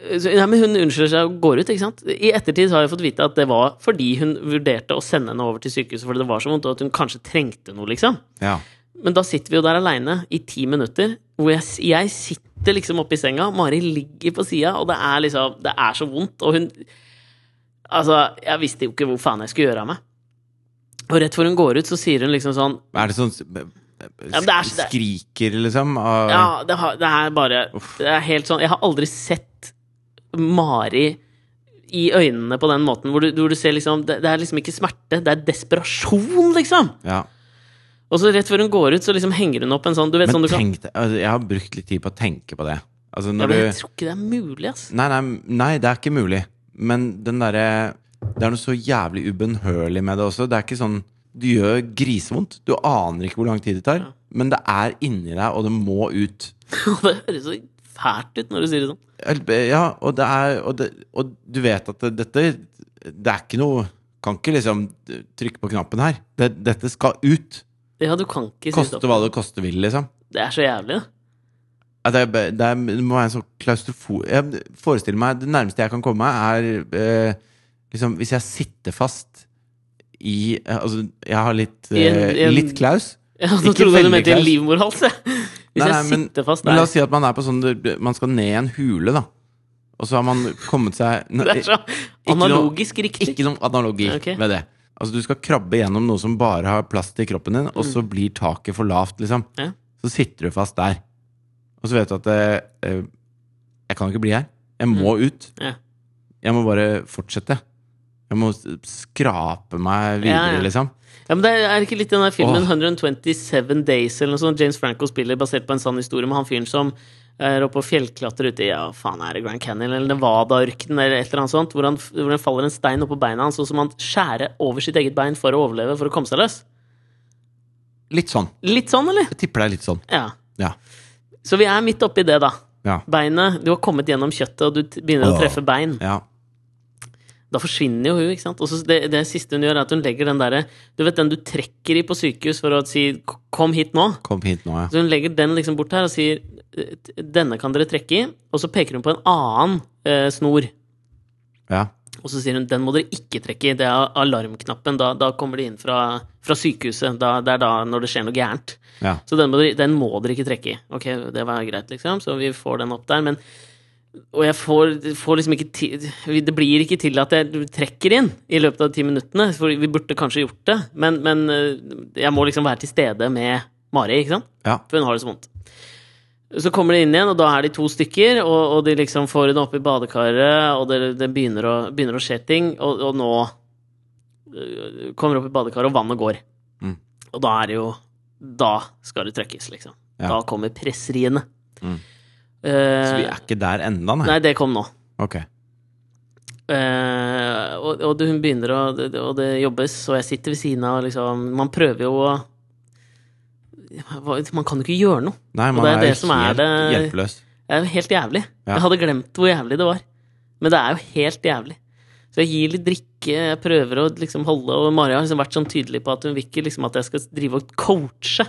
[SPEAKER 1] så, nei, men hun unnskylder seg og går ut, ikke sant? I ettertid har jeg fått vite at det var fordi hun vurderte å sende henne over til sykehuset fordi det var så vondt, og at hun kanskje trengte noe, liksom.
[SPEAKER 2] Ja.
[SPEAKER 1] Men da sitter vi jo der aleine i ti minutter, hvor jeg, s- jeg sitter liksom oppe i senga, Mari ligger på sida, og det er liksom Det er så vondt, og hun Altså, jeg visste jo ikke hvor faen jeg skulle gjøre av meg. Og rett før hun går ut, så sier hun liksom sånn
[SPEAKER 2] Er det sånn
[SPEAKER 1] Ja, men det er så- det-
[SPEAKER 2] Skriker, liksom? Av,
[SPEAKER 1] Ja, det, har, det er bare Det er helt sånn Jeg har aldri sett Mari i øynene på den måten, hvor du, hvor du ser liksom det, det er liksom ikke smerte, det er desperasjon, liksom!
[SPEAKER 2] Ja.
[SPEAKER 1] Og så rett før hun går ut, så liksom henger hun opp en sånn Du vet
[SPEAKER 2] Men
[SPEAKER 1] sånn du kan
[SPEAKER 2] tenk deg altså, Jeg har brukt litt tid på å tenke på det. Altså,
[SPEAKER 1] ja,
[SPEAKER 2] når
[SPEAKER 1] men
[SPEAKER 2] du
[SPEAKER 1] Jeg tror ikke det er mulig, ass.
[SPEAKER 2] Nei, nei, nei, det er ikke mulig. Men den derre Det er noe så jævlig ubønnhørlig med det også. Det er ikke sånn Du gjør grisevondt. Du aner ikke hvor lang tid det tar. Men det er inni deg, og det må ut.
[SPEAKER 1] (laughs) Og det høres så fælt ut når du sier det sånn.
[SPEAKER 2] Ja, og det er Og, det, og du vet at det, dette Det er ikke noe Kan ikke liksom trykke på knappen her. Det, dette skal ut.
[SPEAKER 1] Ja, du kan ikke si
[SPEAKER 2] Koste
[SPEAKER 1] stopp.
[SPEAKER 2] hva det koste vil, liksom.
[SPEAKER 1] Det er så jævlig. da.
[SPEAKER 2] Ja, Det, er, det, er, det må være en sånn klaustrofo... Jeg forestiller meg Det nærmeste jeg kan komme, er eh, liksom Hvis jeg sitter fast i eh, Altså, jeg har litt,
[SPEAKER 1] I en-
[SPEAKER 2] eh,
[SPEAKER 1] i en-
[SPEAKER 2] litt klaus.
[SPEAKER 1] Ja,
[SPEAKER 2] Ikke
[SPEAKER 1] nå trodde jeg
[SPEAKER 2] veldig
[SPEAKER 1] du mente
[SPEAKER 2] klaus.
[SPEAKER 1] livmorhals, jeg. Hvis jeg
[SPEAKER 2] Nei, nei, men-
[SPEAKER 1] sitter fast
[SPEAKER 2] Men
[SPEAKER 1] der.
[SPEAKER 2] la oss si at man er på sånn Man skal ned i en hule, da. Og så har man kommet seg Nå,
[SPEAKER 1] (laughs) Det er så
[SPEAKER 2] noe-
[SPEAKER 1] analogisk riktig.
[SPEAKER 2] Ikke noen analogi
[SPEAKER 1] Ok.
[SPEAKER 2] ved det. Altså, du skal krabbe gjennom noe som bare har plass til kroppen din, og så blir taket for lavt, liksom.
[SPEAKER 1] Mm. Ja.
[SPEAKER 2] Så sitter du fast der. Og så vet du at eh, eh, Jeg kan ikke bli her. Jeg må ut.
[SPEAKER 1] Mm. Ja.
[SPEAKER 2] Jeg må bare fortsette. Jeg må s- skrape meg videre,
[SPEAKER 1] Ja, ja.
[SPEAKER 2] liksom.
[SPEAKER 1] Ja, men det er er ikke litt den der filmen
[SPEAKER 2] Åh.
[SPEAKER 1] 127 Days eller noe sånt James Franco spiller basert på en sann historie med han fyren som eh, er oppe og fjellklatrer ute i ja, faen er det Grand Canyon eller Nevada-ørkenen eller et eller annet sånt, hvor han, hvor han faller en stein oppå beina hans, og så må han skjære over sitt eget bein for å overleve, for å komme seg løs.
[SPEAKER 2] Litt sånn.
[SPEAKER 1] Litt sånn, eller?
[SPEAKER 2] Jeg tipper det er litt sånn.
[SPEAKER 1] Ja.
[SPEAKER 2] Ja.
[SPEAKER 1] Så vi er midt oppi det, da.
[SPEAKER 2] Ja.
[SPEAKER 1] Beinet Du har kommet gjennom kjøttet, og du t- begynner å
[SPEAKER 2] Åh.
[SPEAKER 1] treffe bein.
[SPEAKER 2] ja.
[SPEAKER 1] Da forsvinner jo hun, ikke sant? Og så det, det siste hun gjør, er at hun legger den derre Du vet den du trekker i på sykehus for å si 'kom hit nå'?
[SPEAKER 2] Kom hit nå, ja.
[SPEAKER 1] Så hun legger den liksom bort her og sier "Eh, denne kan dere trekke i, og så peker hun på en annen eh, snor.
[SPEAKER 2] ja.
[SPEAKER 1] Og så sier hun den må dere ikke trekke i, det er alarmknappen. Da, da kommer de inn fra, fra sykehuset. Da, det er da når det skjer noe gærent.
[SPEAKER 2] Ja.
[SPEAKER 1] Så den må, dere, den må dere ikke trekke i. Ok, det var greit, liksom. Så vi får den opp der. Men Og jeg får, får liksom ikke tid Det blir ikke til at jeg trekker inn i løpet av de ti minuttene. For vi burde kanskje gjort det, men, men eh, jeg må liksom være til stede med Mari, ikke sant?
[SPEAKER 2] Ja.
[SPEAKER 1] For hun har det så vondt. Så kommer de inn igjen, og da er de to stykker, og, og de liksom får henne opp i badekaret, og det, det begynner, å, begynner å skje ting, og, og nå øh, kommer opp i badekaret, og vannet går.
[SPEAKER 2] Mm.
[SPEAKER 1] Og da er det jo Da skal det trøkkes, liksom.
[SPEAKER 2] Ja.
[SPEAKER 1] Da kommer presseriene.
[SPEAKER 2] Mm.
[SPEAKER 1] Eh,
[SPEAKER 2] Så vi er ikke der enda, nei?
[SPEAKER 1] Nei, det kom nå.
[SPEAKER 2] Ok.
[SPEAKER 1] Eh, og, og det- hun begynner å det- det- Og det jobbes, og jeg sitter ved siden av, og liksom Man prøver jo å hva- Man kan jo ikke gjøre noe.
[SPEAKER 2] Nei, man
[SPEAKER 1] det er
[SPEAKER 2] er,
[SPEAKER 1] det
[SPEAKER 2] jo
[SPEAKER 1] som er
[SPEAKER 2] helt
[SPEAKER 1] det-
[SPEAKER 2] hjelpeløs.
[SPEAKER 1] Det er jo helt jævlig.
[SPEAKER 2] Ja.
[SPEAKER 1] Jeg hadde glemt hvor jævlig det var. Men det er jo helt jævlig. Så jeg gir litt drikke, jeg prøver å liksom holde Og Mari har liksom vært sånn tydelig på at hun vil ikke liksom at jeg skal drive og coache.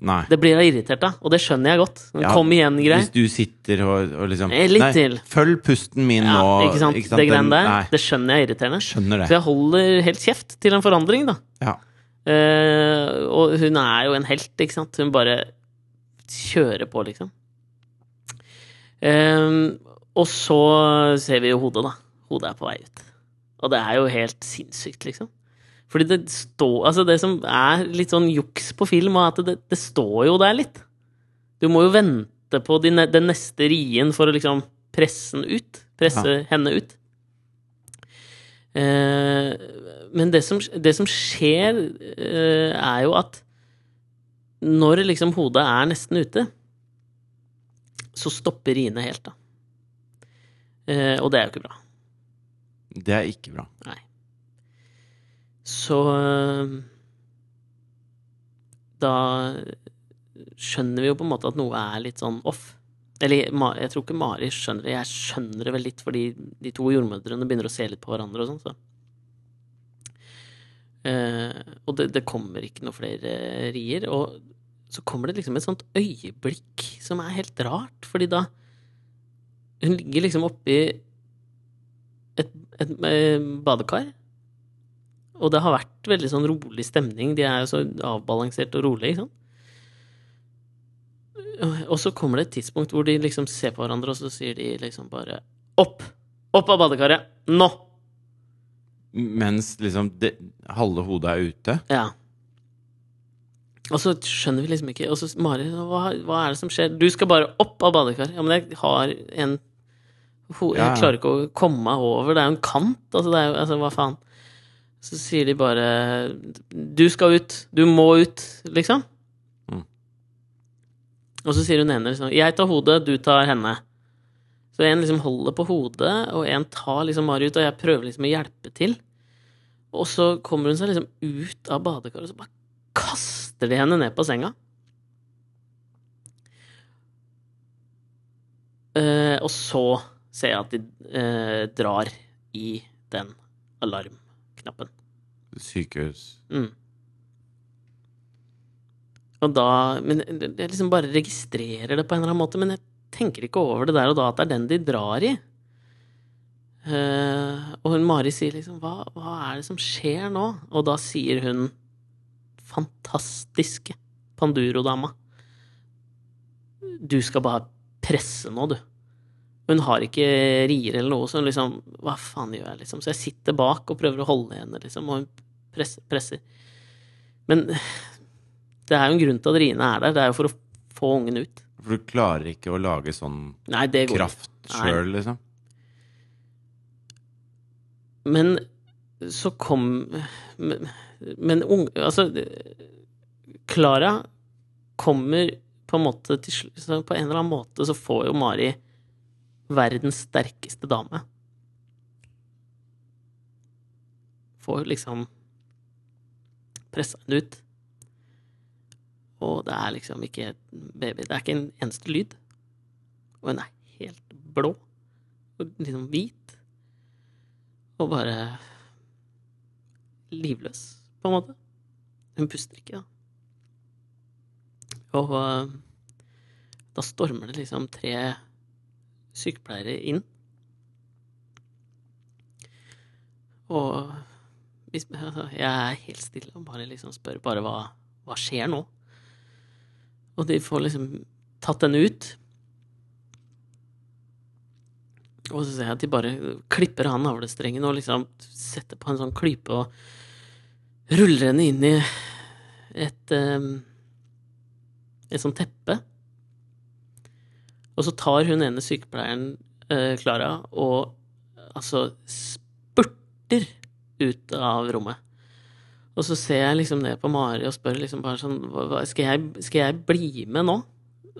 [SPEAKER 2] Nei.
[SPEAKER 1] Det blir jeg irritert av, og det skjønner jeg godt.
[SPEAKER 2] Ja,
[SPEAKER 1] Kom igjen, grei.
[SPEAKER 2] Hvis du sitter og, og liksom
[SPEAKER 1] Eh, litt til.
[SPEAKER 2] Følg pusten min
[SPEAKER 1] Ja,
[SPEAKER 2] nå.
[SPEAKER 1] ikke sant? Det
[SPEAKER 2] Den-
[SPEAKER 1] greiene der.
[SPEAKER 2] Nei,
[SPEAKER 1] Det skjønner jeg er irriterende. Så
[SPEAKER 2] skjønner det.
[SPEAKER 1] jeg holder helt kjeft til en forandring, da.
[SPEAKER 2] Ja.
[SPEAKER 1] Eh, og hun er jo en helt, ikke sant? Hun bare kjører på, liksom. Eh, og så ser vi jo hodet, da. Hodet er på vei ut. Og det er jo helt sinnssykt, liksom. Fordi det står Altså, det som er litt sånn juks på film, er at det, det står jo der litt. Du må jo vente på de, ne- den neste rien for å liksom presse den ut. Presse henne ut. Eh, men det som, det som skjer, eh, er jo at når liksom hodet er nesten ute, så stopper riene helt, da. Eh, og det er jo ikke bra.
[SPEAKER 2] Det er ikke bra.
[SPEAKER 1] Så eh, Da skjønner vi jo på en måte at noe er litt sånn off. Eller Ma- jeg tror ikke Mari skjønner det. Jeg skjønner det vel litt fordi de to jordmødrene begynner å se litt på hverandre og sånn. Så. Eh, og det, det kommer ikke noe flere rier. Og så kommer det liksom et sånt øyeblikk som er helt rart, fordi da Hun ligger liksom oppi et, et eh, badekar. Og det har vært veldig sånn rolig stemning. De er jo så avbalansert og rolig, ikke sant? Og så kommer det et tidspunkt hvor de liksom ser på hverandre, og så sier de liksom bare Opp! Opp av badekaret! Nå!
[SPEAKER 2] Mens liksom det, halve hodet er ute.
[SPEAKER 1] Ja. Og så skjønner vi liksom ikke Og så Mari, hva, hva er det som skjer? Du skal bare opp av badekaret. Ja, men jeg har en ho
[SPEAKER 2] Ja, ja.
[SPEAKER 1] Jeg klarer ikke å komme meg over. Det er jo en kant. Altså, det er jo Altså, hva faen? Så sier de bare Du skal ut. Du må ut, liksom.
[SPEAKER 2] Mm.
[SPEAKER 1] Og så sier hun ene liksom Jeg tar hodet, du tar henne. Så en liksom holder på hodet, og en tar liksom Mari ut, og jeg prøver liksom å hjelpe til. Og så kommer hun seg liksom ut av badekaret, og så bare kaster de henne ned på senga. Eh, og så ser jeg at de eh, drar i den alarmknappen.
[SPEAKER 2] Sykehus.
[SPEAKER 1] Mm. Og da Men jeg liksom bare registrerer det på en eller annen måte, men jeg tenker ikke over det der og da at det er den de drar i. Eh, og hun Mari sier liksom hva, 'Hva er det som skjer nå?' Og da sier hun fantastiske Panduro-dama 'Du skal bare presse nå, du'. Hun har ikke rier eller noe, så hun liksom 'Hva faen gjør jeg?' liksom. Så jeg sitter bak og prøver å holde henne, liksom, og hun presser. presser. Men det er jo en grunn til at riene er der. Det er jo for å få ungen ut.
[SPEAKER 2] For du klarer ikke å lage sånn
[SPEAKER 1] Nei, det går ikke.
[SPEAKER 2] kraft sjøl, liksom.
[SPEAKER 1] Men så kom Men, men ung... Altså, Klara kommer på en, måte, til slu- så på en eller annen måte så får jo Mari verdens sterkeste dame. Får liksom pressa henne ut. Og det er liksom ikke baby. Det er ikke en eneste lyd. Og hun er helt blå. Og liksom hvit. Og bare livløs, på en måte. Hun puster ikke, da. Og eh, da stormer det liksom tre sykepleiere inn. Og hvis, altså, jeg er helt stille og bare liksom spør bare hva, hva skjer nå? Og de får liksom tatt henne ut. Og så ser jeg at de bare klipper av navlestrengen og liksom setter på en sånn klype og ruller henne inn i et eh, et sånt teppe. Og så tar hun ene sykepleieren, eh, Klara, og altså spurter ut av rommet. Og så ser jeg liksom ned på Mari og spør liksom bare sånn hva, hva- skal, jeg, skal jeg bli med nå?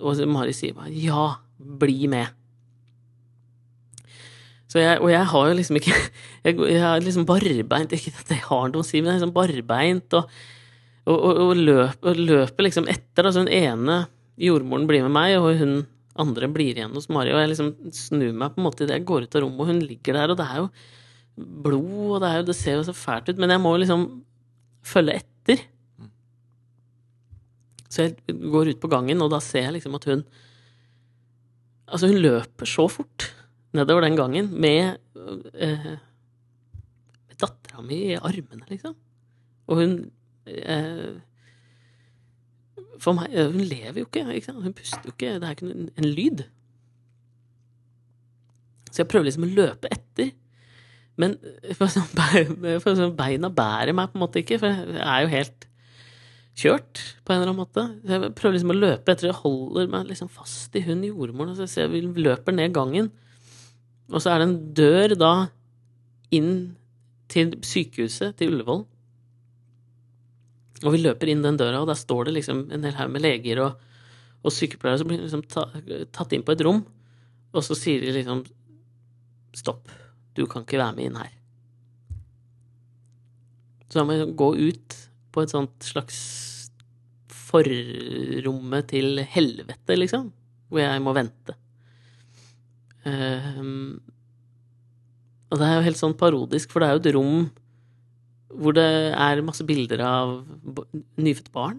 [SPEAKER 1] Og så Mari sier bare ja, bli med. Så jeg, og jeg har jo liksom ikke (laughs) Jeg, går- jeg er liksom barbeint. Ikke at jeg har noe å si, men jeg er liksom barbeint og og, og, og, løp, og løper liksom etter. Altså hun ene jordmoren blir med meg, og hun andre blir igjen hos Mari. Og jeg liksom snur meg på en måte idet jeg går ut av rommet, og hun ligger der, og det er jo blod, og det, er jo, det ser jo så fælt ut, men jeg må jo liksom følge etter. Så jeg går ut på gangen, og da ser jeg liksom at hun Altså, hun løper så fort nedover den gangen med, eh, med dattera mi i armene, liksom. Og hun eh, For meg eh, Hun lever jo ikke. ikke sant? Hun puster jo ikke. Det er ikke noen, en lyd. Så jeg prøver liksom å løpe etter. Men eh, for sånn, be- for sånn, beina bærer meg på en måte ikke, for jeg er jo helt kjørt på en eller annen måte. Så jeg prøver liksom å løpe etter. Jeg holder meg liksom fast i hun jordmoren, og så ser jeg vi løper ned gangen. Og så er det en dør da inn til sykehuset, til Ullevål. Og vi løper inn den døra, og der står det liksom en hel haug med leger og, og sykepleiere som blir liksom ta, tatt inn på et rom, og så sier de liksom Stopp. Du kan ikke være med inn her. Så da må jeg gå ut på et sånt slags forrommet til helvete, liksom, hvor jeg må vente. Ehm, og det er jo helt sånn parodisk, for det er jo et rom hvor det er masse bilder av b- nyfødte barn.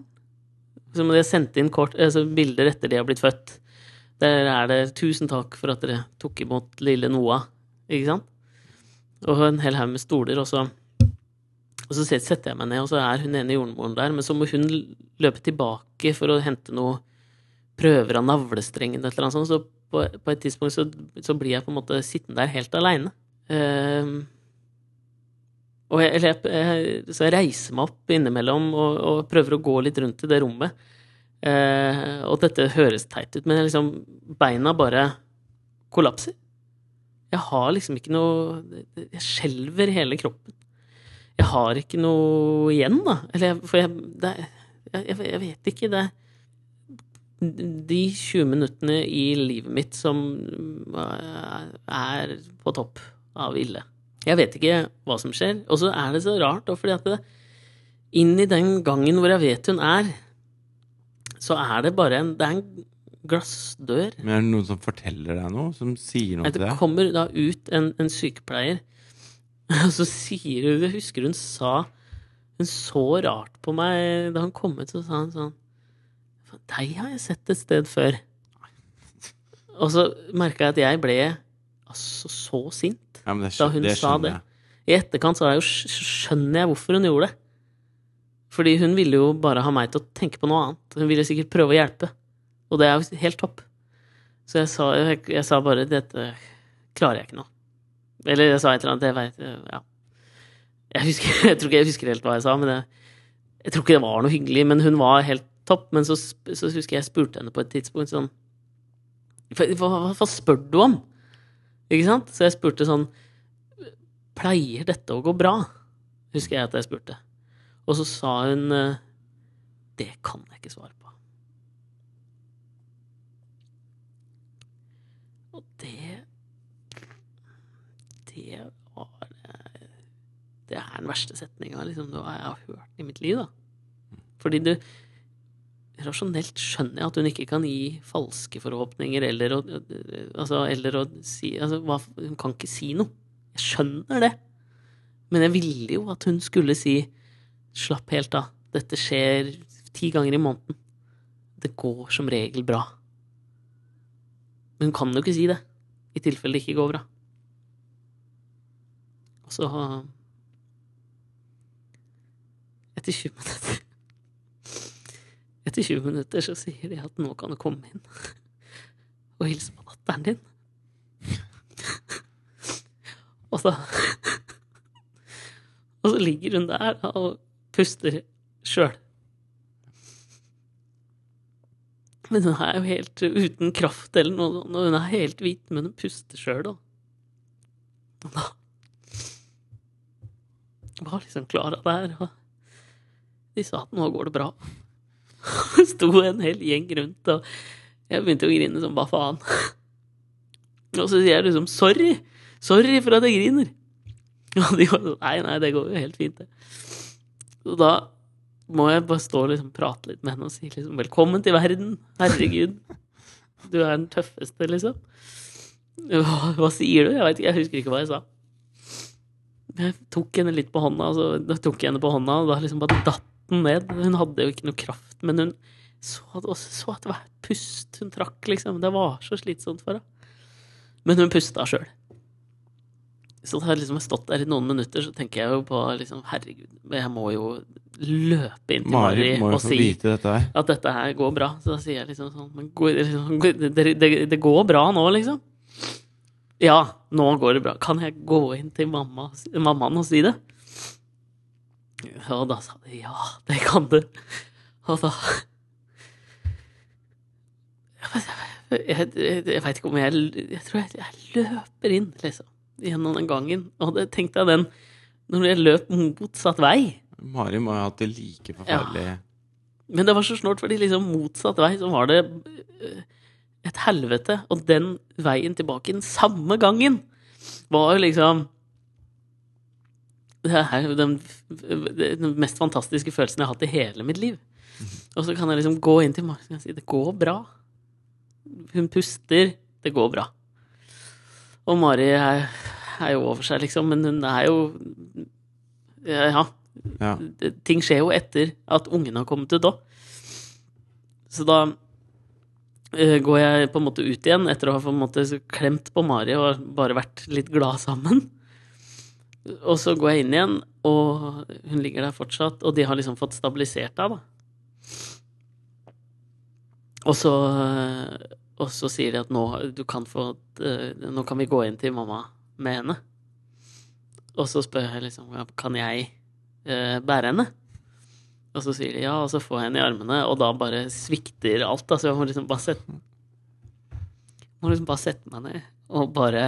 [SPEAKER 1] Som de har sendt inn kort, altså bilder etter de har blitt født. Der er det 'tusen takk for at dere tok imot lille Noah'. Ikke sant? Og en hel haug med stoler, og så Og så set- setter jeg meg ned, og så er hun ene jordmoren der, men så må hun l- løpe tilbake for å hente noe prøver av navlestrengen eller et eller annet sånt. Så på, på et tidspunkt så, så blir jeg på en måte sittende der helt aleine. Um, og jeg, eller jeg, jeg, så jeg reiser meg opp innimellom og, og prøver å gå litt rundt i det rommet. Eh, og dette høres teit ut, men jeg liksom, beina bare kollapser. Jeg har liksom ikke noe Jeg skjelver i hele kroppen. Jeg har ikke noe igjen, da. Eller jeg, for jeg, det, er- jeg, jeg jeg vet ikke. Det er de 20 minuttene i livet mitt som eh, er på topp av ille. Jeg vet ikke hva som skjer. Og så er det så rart, da, fordi at det, inn i den gangen hvor jeg vet hun er, så er det bare en, det er en glassdør.
[SPEAKER 2] Men er det noen som forteller deg noe? Som sier noe
[SPEAKER 1] Nei,
[SPEAKER 2] til
[SPEAKER 1] det
[SPEAKER 2] deg?
[SPEAKER 1] kommer da ut en, en sykepleier, (laughs) og så sier hun Jeg husker hun sa Hun så rart på meg da hun kom ut, så sa hun sånn "Faen, Deg har jeg sett et sted før. Og så merka jeg at jeg ble altså så sint.
[SPEAKER 2] Ja, men det,
[SPEAKER 1] Da
[SPEAKER 2] skjø-
[SPEAKER 1] hun
[SPEAKER 2] det
[SPEAKER 1] sa
[SPEAKER 2] skjønner
[SPEAKER 1] det.
[SPEAKER 2] jeg.
[SPEAKER 1] I etterkant så har jeg jo, sk- skjønner jeg hvorfor hun gjorde det. Fordi hun ville jo bare ha meg til å tenke på noe annet. Hun ville sikkert prøve å hjelpe. Og det er jo helt topp. Så jeg sa, jeg, jeg sa bare dette klarer jeg ikke nå. Eller jeg sa et eller annet, det vet jeg, ja. Jeg, husker, (laughs) jeg tror ikke jeg husker helt hva jeg sa, men jeg, jeg tror ikke det var noe hyggelig. Men hun var helt topp. Men så, sp- så husker jeg jeg spurte henne på et tidspunkt sånn Hva, hva, hva spør du om? Ikke sant? Så jeg spurte sånn Pleier dette å gå bra? Husker jeg at jeg spurte. Og så sa hun eh, Det kan jeg ikke svare på. Det Det var eh, Det er den verste setninga liksom, du har- jeg har hørt i mitt liv, da. Fordi du Rasjonelt skjønner jeg at hun ikke kan gi falske forhåpninger eller å, altså, eller å si altså, hva, Hun kan ikke si noe. Jeg skjønner det. Men jeg ville jo at hun skulle si Slapp helt av. Dette skjer ti ganger i måneden. Det går som regel bra. Men hun kan jo ikke si det, i tilfelle det ikke går bra. Og så Etter 20 minutter Etter 20 minutter så sier de at nå kan du komme inn og hilse på datteren din. Og så (laughs) Og så ligger hun der da, og puster sjøl. Men hun er jo helt uten kraft eller noe sånt, og hun er helt hvit, men hun puster sjøl, da. Og da var liksom Klara der, og de sa at nå går det bra. (laughs) Det sto en hel gjeng rundt, og jeg begynte å grine som hva faen. (laughs) Og så sier jeg liksom sorry. Sorry for at jeg griner. (laughs) Og de var sånn nei, nei, det går jo helt fint, det. Så da må jeg bare stå og liksom prate litt med henne og si liksom velkommen til verden. Herregud. Du er den tøffeste, liksom. Hva, hva sier du? Jeg vet ikke, jeg husker ikke hva jeg sa. Jeg tok henne litt på hånda, og så da tok jeg henne på hånda, og da liksom bare datt den ned. Hun hadde jo ikke noe kraft, men hun så at, også så at hvert pust hun trakk, liksom. Det var så slitsomt for henne. Men hun pusta sjøl. Så da har jeg liksom stått der i noen minutter, så tenker jeg jo på liksom, herregud, jeg må jo løpe inn til Mari,
[SPEAKER 2] Mari må jo
[SPEAKER 1] og
[SPEAKER 2] få
[SPEAKER 1] si
[SPEAKER 2] vite dette her.
[SPEAKER 1] at dette her går bra. Så da sier jeg liksom sånn men går, liksom, går- det, det, det går bra nå, liksom? Ja, nå går det bra. Kan jeg gå inn til mamma, mammaen og si det? Og da sa de ja, det kan du. Og da Jeg, jeg, jeg veit ikke om jeg Jeg tror jeg, jeg løper inn, liksom, gjennom den gangen. Og det tenkte jeg den Når jeg løp motsatt vei
[SPEAKER 2] Mari må ha hatt det like forferdelig.
[SPEAKER 1] Men det var så snålt, fordi liksom motsatt vei så var det øh, et helvete. Og den veien tilbake den samme gangen var jo liksom Det er jo den, den mest fantastiske følelsen jeg har hatt i hele mitt liv. Og så kan jeg liksom gå inn til Martin og si det går bra. Hun puster. Det går bra. Og Mari er, er jo over seg, liksom, men hun er jo Ja,
[SPEAKER 2] Ja.
[SPEAKER 1] det- ting skjer jo etter at ungen har kommet ut òg. Så da eh, går jeg på en måte ut igjen etter å ha på en måte så klemt på Mari og bare vært litt glad sammen. Og så går jeg inn igjen, og hun ligger der fortsatt, og de har liksom fått stabilisert deg, da. Og så, og så sier de at nå, du kan få, eh, nå kan vi gå inn til mamma med henne. Og så spør jeg liksom ja, Kan jeg eh, bære henne? Og så sier de ja, og så får jeg henne i armene, og da bare svikter alt. Da, så jeg må liksom bare sette Må liksom bare sette meg ned og bare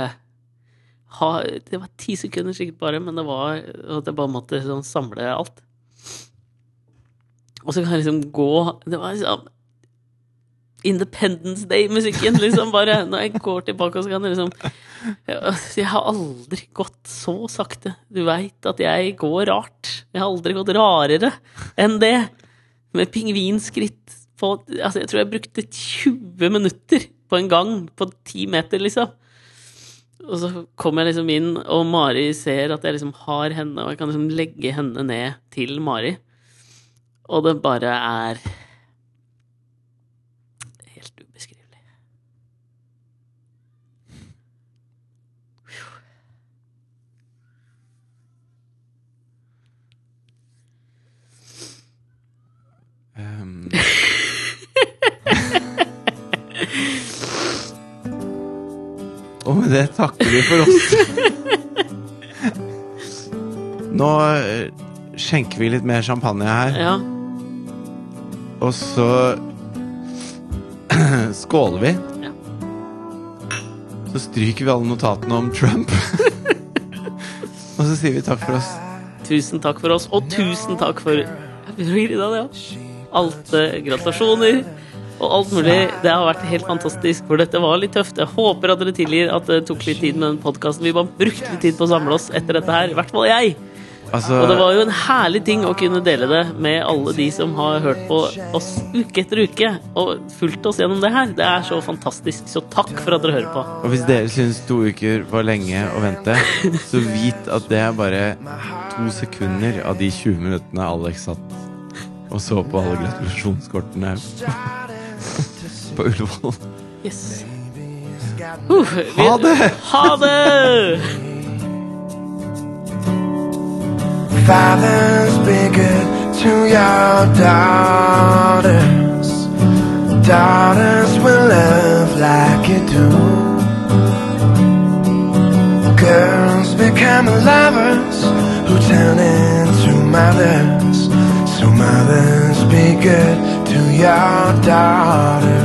[SPEAKER 1] ha Det var ti sekunder sikkert bare, men det var at jeg bare måtte sånn samle alt. Og så kan jeg liksom gå Det var liksom Independence Day-musikken, liksom. Bare når jeg går tilbake, og så kan jeg liksom ja, (laughs) altså, Jeg har aldri gått så sakte. Du veit at jeg går rart. Jeg har aldri gått rarere enn det. Med pingvinskritt på Altså, jeg tror jeg brukte 20 minutter på en gang på 10 meter, liksom. Og så kommer jeg liksom inn, og Mari ser at jeg liksom har henne, og jeg kan liksom legge henne ned til Mari. Og det bare er helt ubeskrivelig.
[SPEAKER 2] Ehm, Og med det takker vi for oss. Nå eh, skjenker vi litt mer champagne her,
[SPEAKER 1] Ja.
[SPEAKER 2] og så (clears throat) skåler vi.
[SPEAKER 1] Ja.
[SPEAKER 2] Så stryker vi alle notatene om Trump. (laughs) Og så sier vi takk for oss.
[SPEAKER 1] Tusen takk for oss, og tusen takk for Jeg begynner å grine av det, ja. Alt eh, gratulasjoner. og alt mulig. Det har vært helt fantastisk, for dette var litt tøft. Jeg håper at dere tilgir at det tok litt tid med den podkasten. Vi bare brukte litt tid på å samle oss etter dette her. I hvert fall jeg.
[SPEAKER 2] Altså,
[SPEAKER 1] Og det var jo en herlig ting å kunne dele det med alle de som har hørt på oss uke etter uke og fulgt oss gjennom det her. Det er så fantastisk. Så takk for at dere hører på.
[SPEAKER 2] og hvis dere syns to uker var lenge å vente, så vit at det er bare to sekunder av de 20 minuttene Alex satt og så på alle gratulasjonskortene på Ullevål.
[SPEAKER 1] Yes. Uh, vi-
[SPEAKER 2] Ha det!
[SPEAKER 1] Ha det!
[SPEAKER 3] Fathers be good to your daughters. Daughters will love like you do. Girls become lovers who turn into mothers. So mothers be good to your daughters.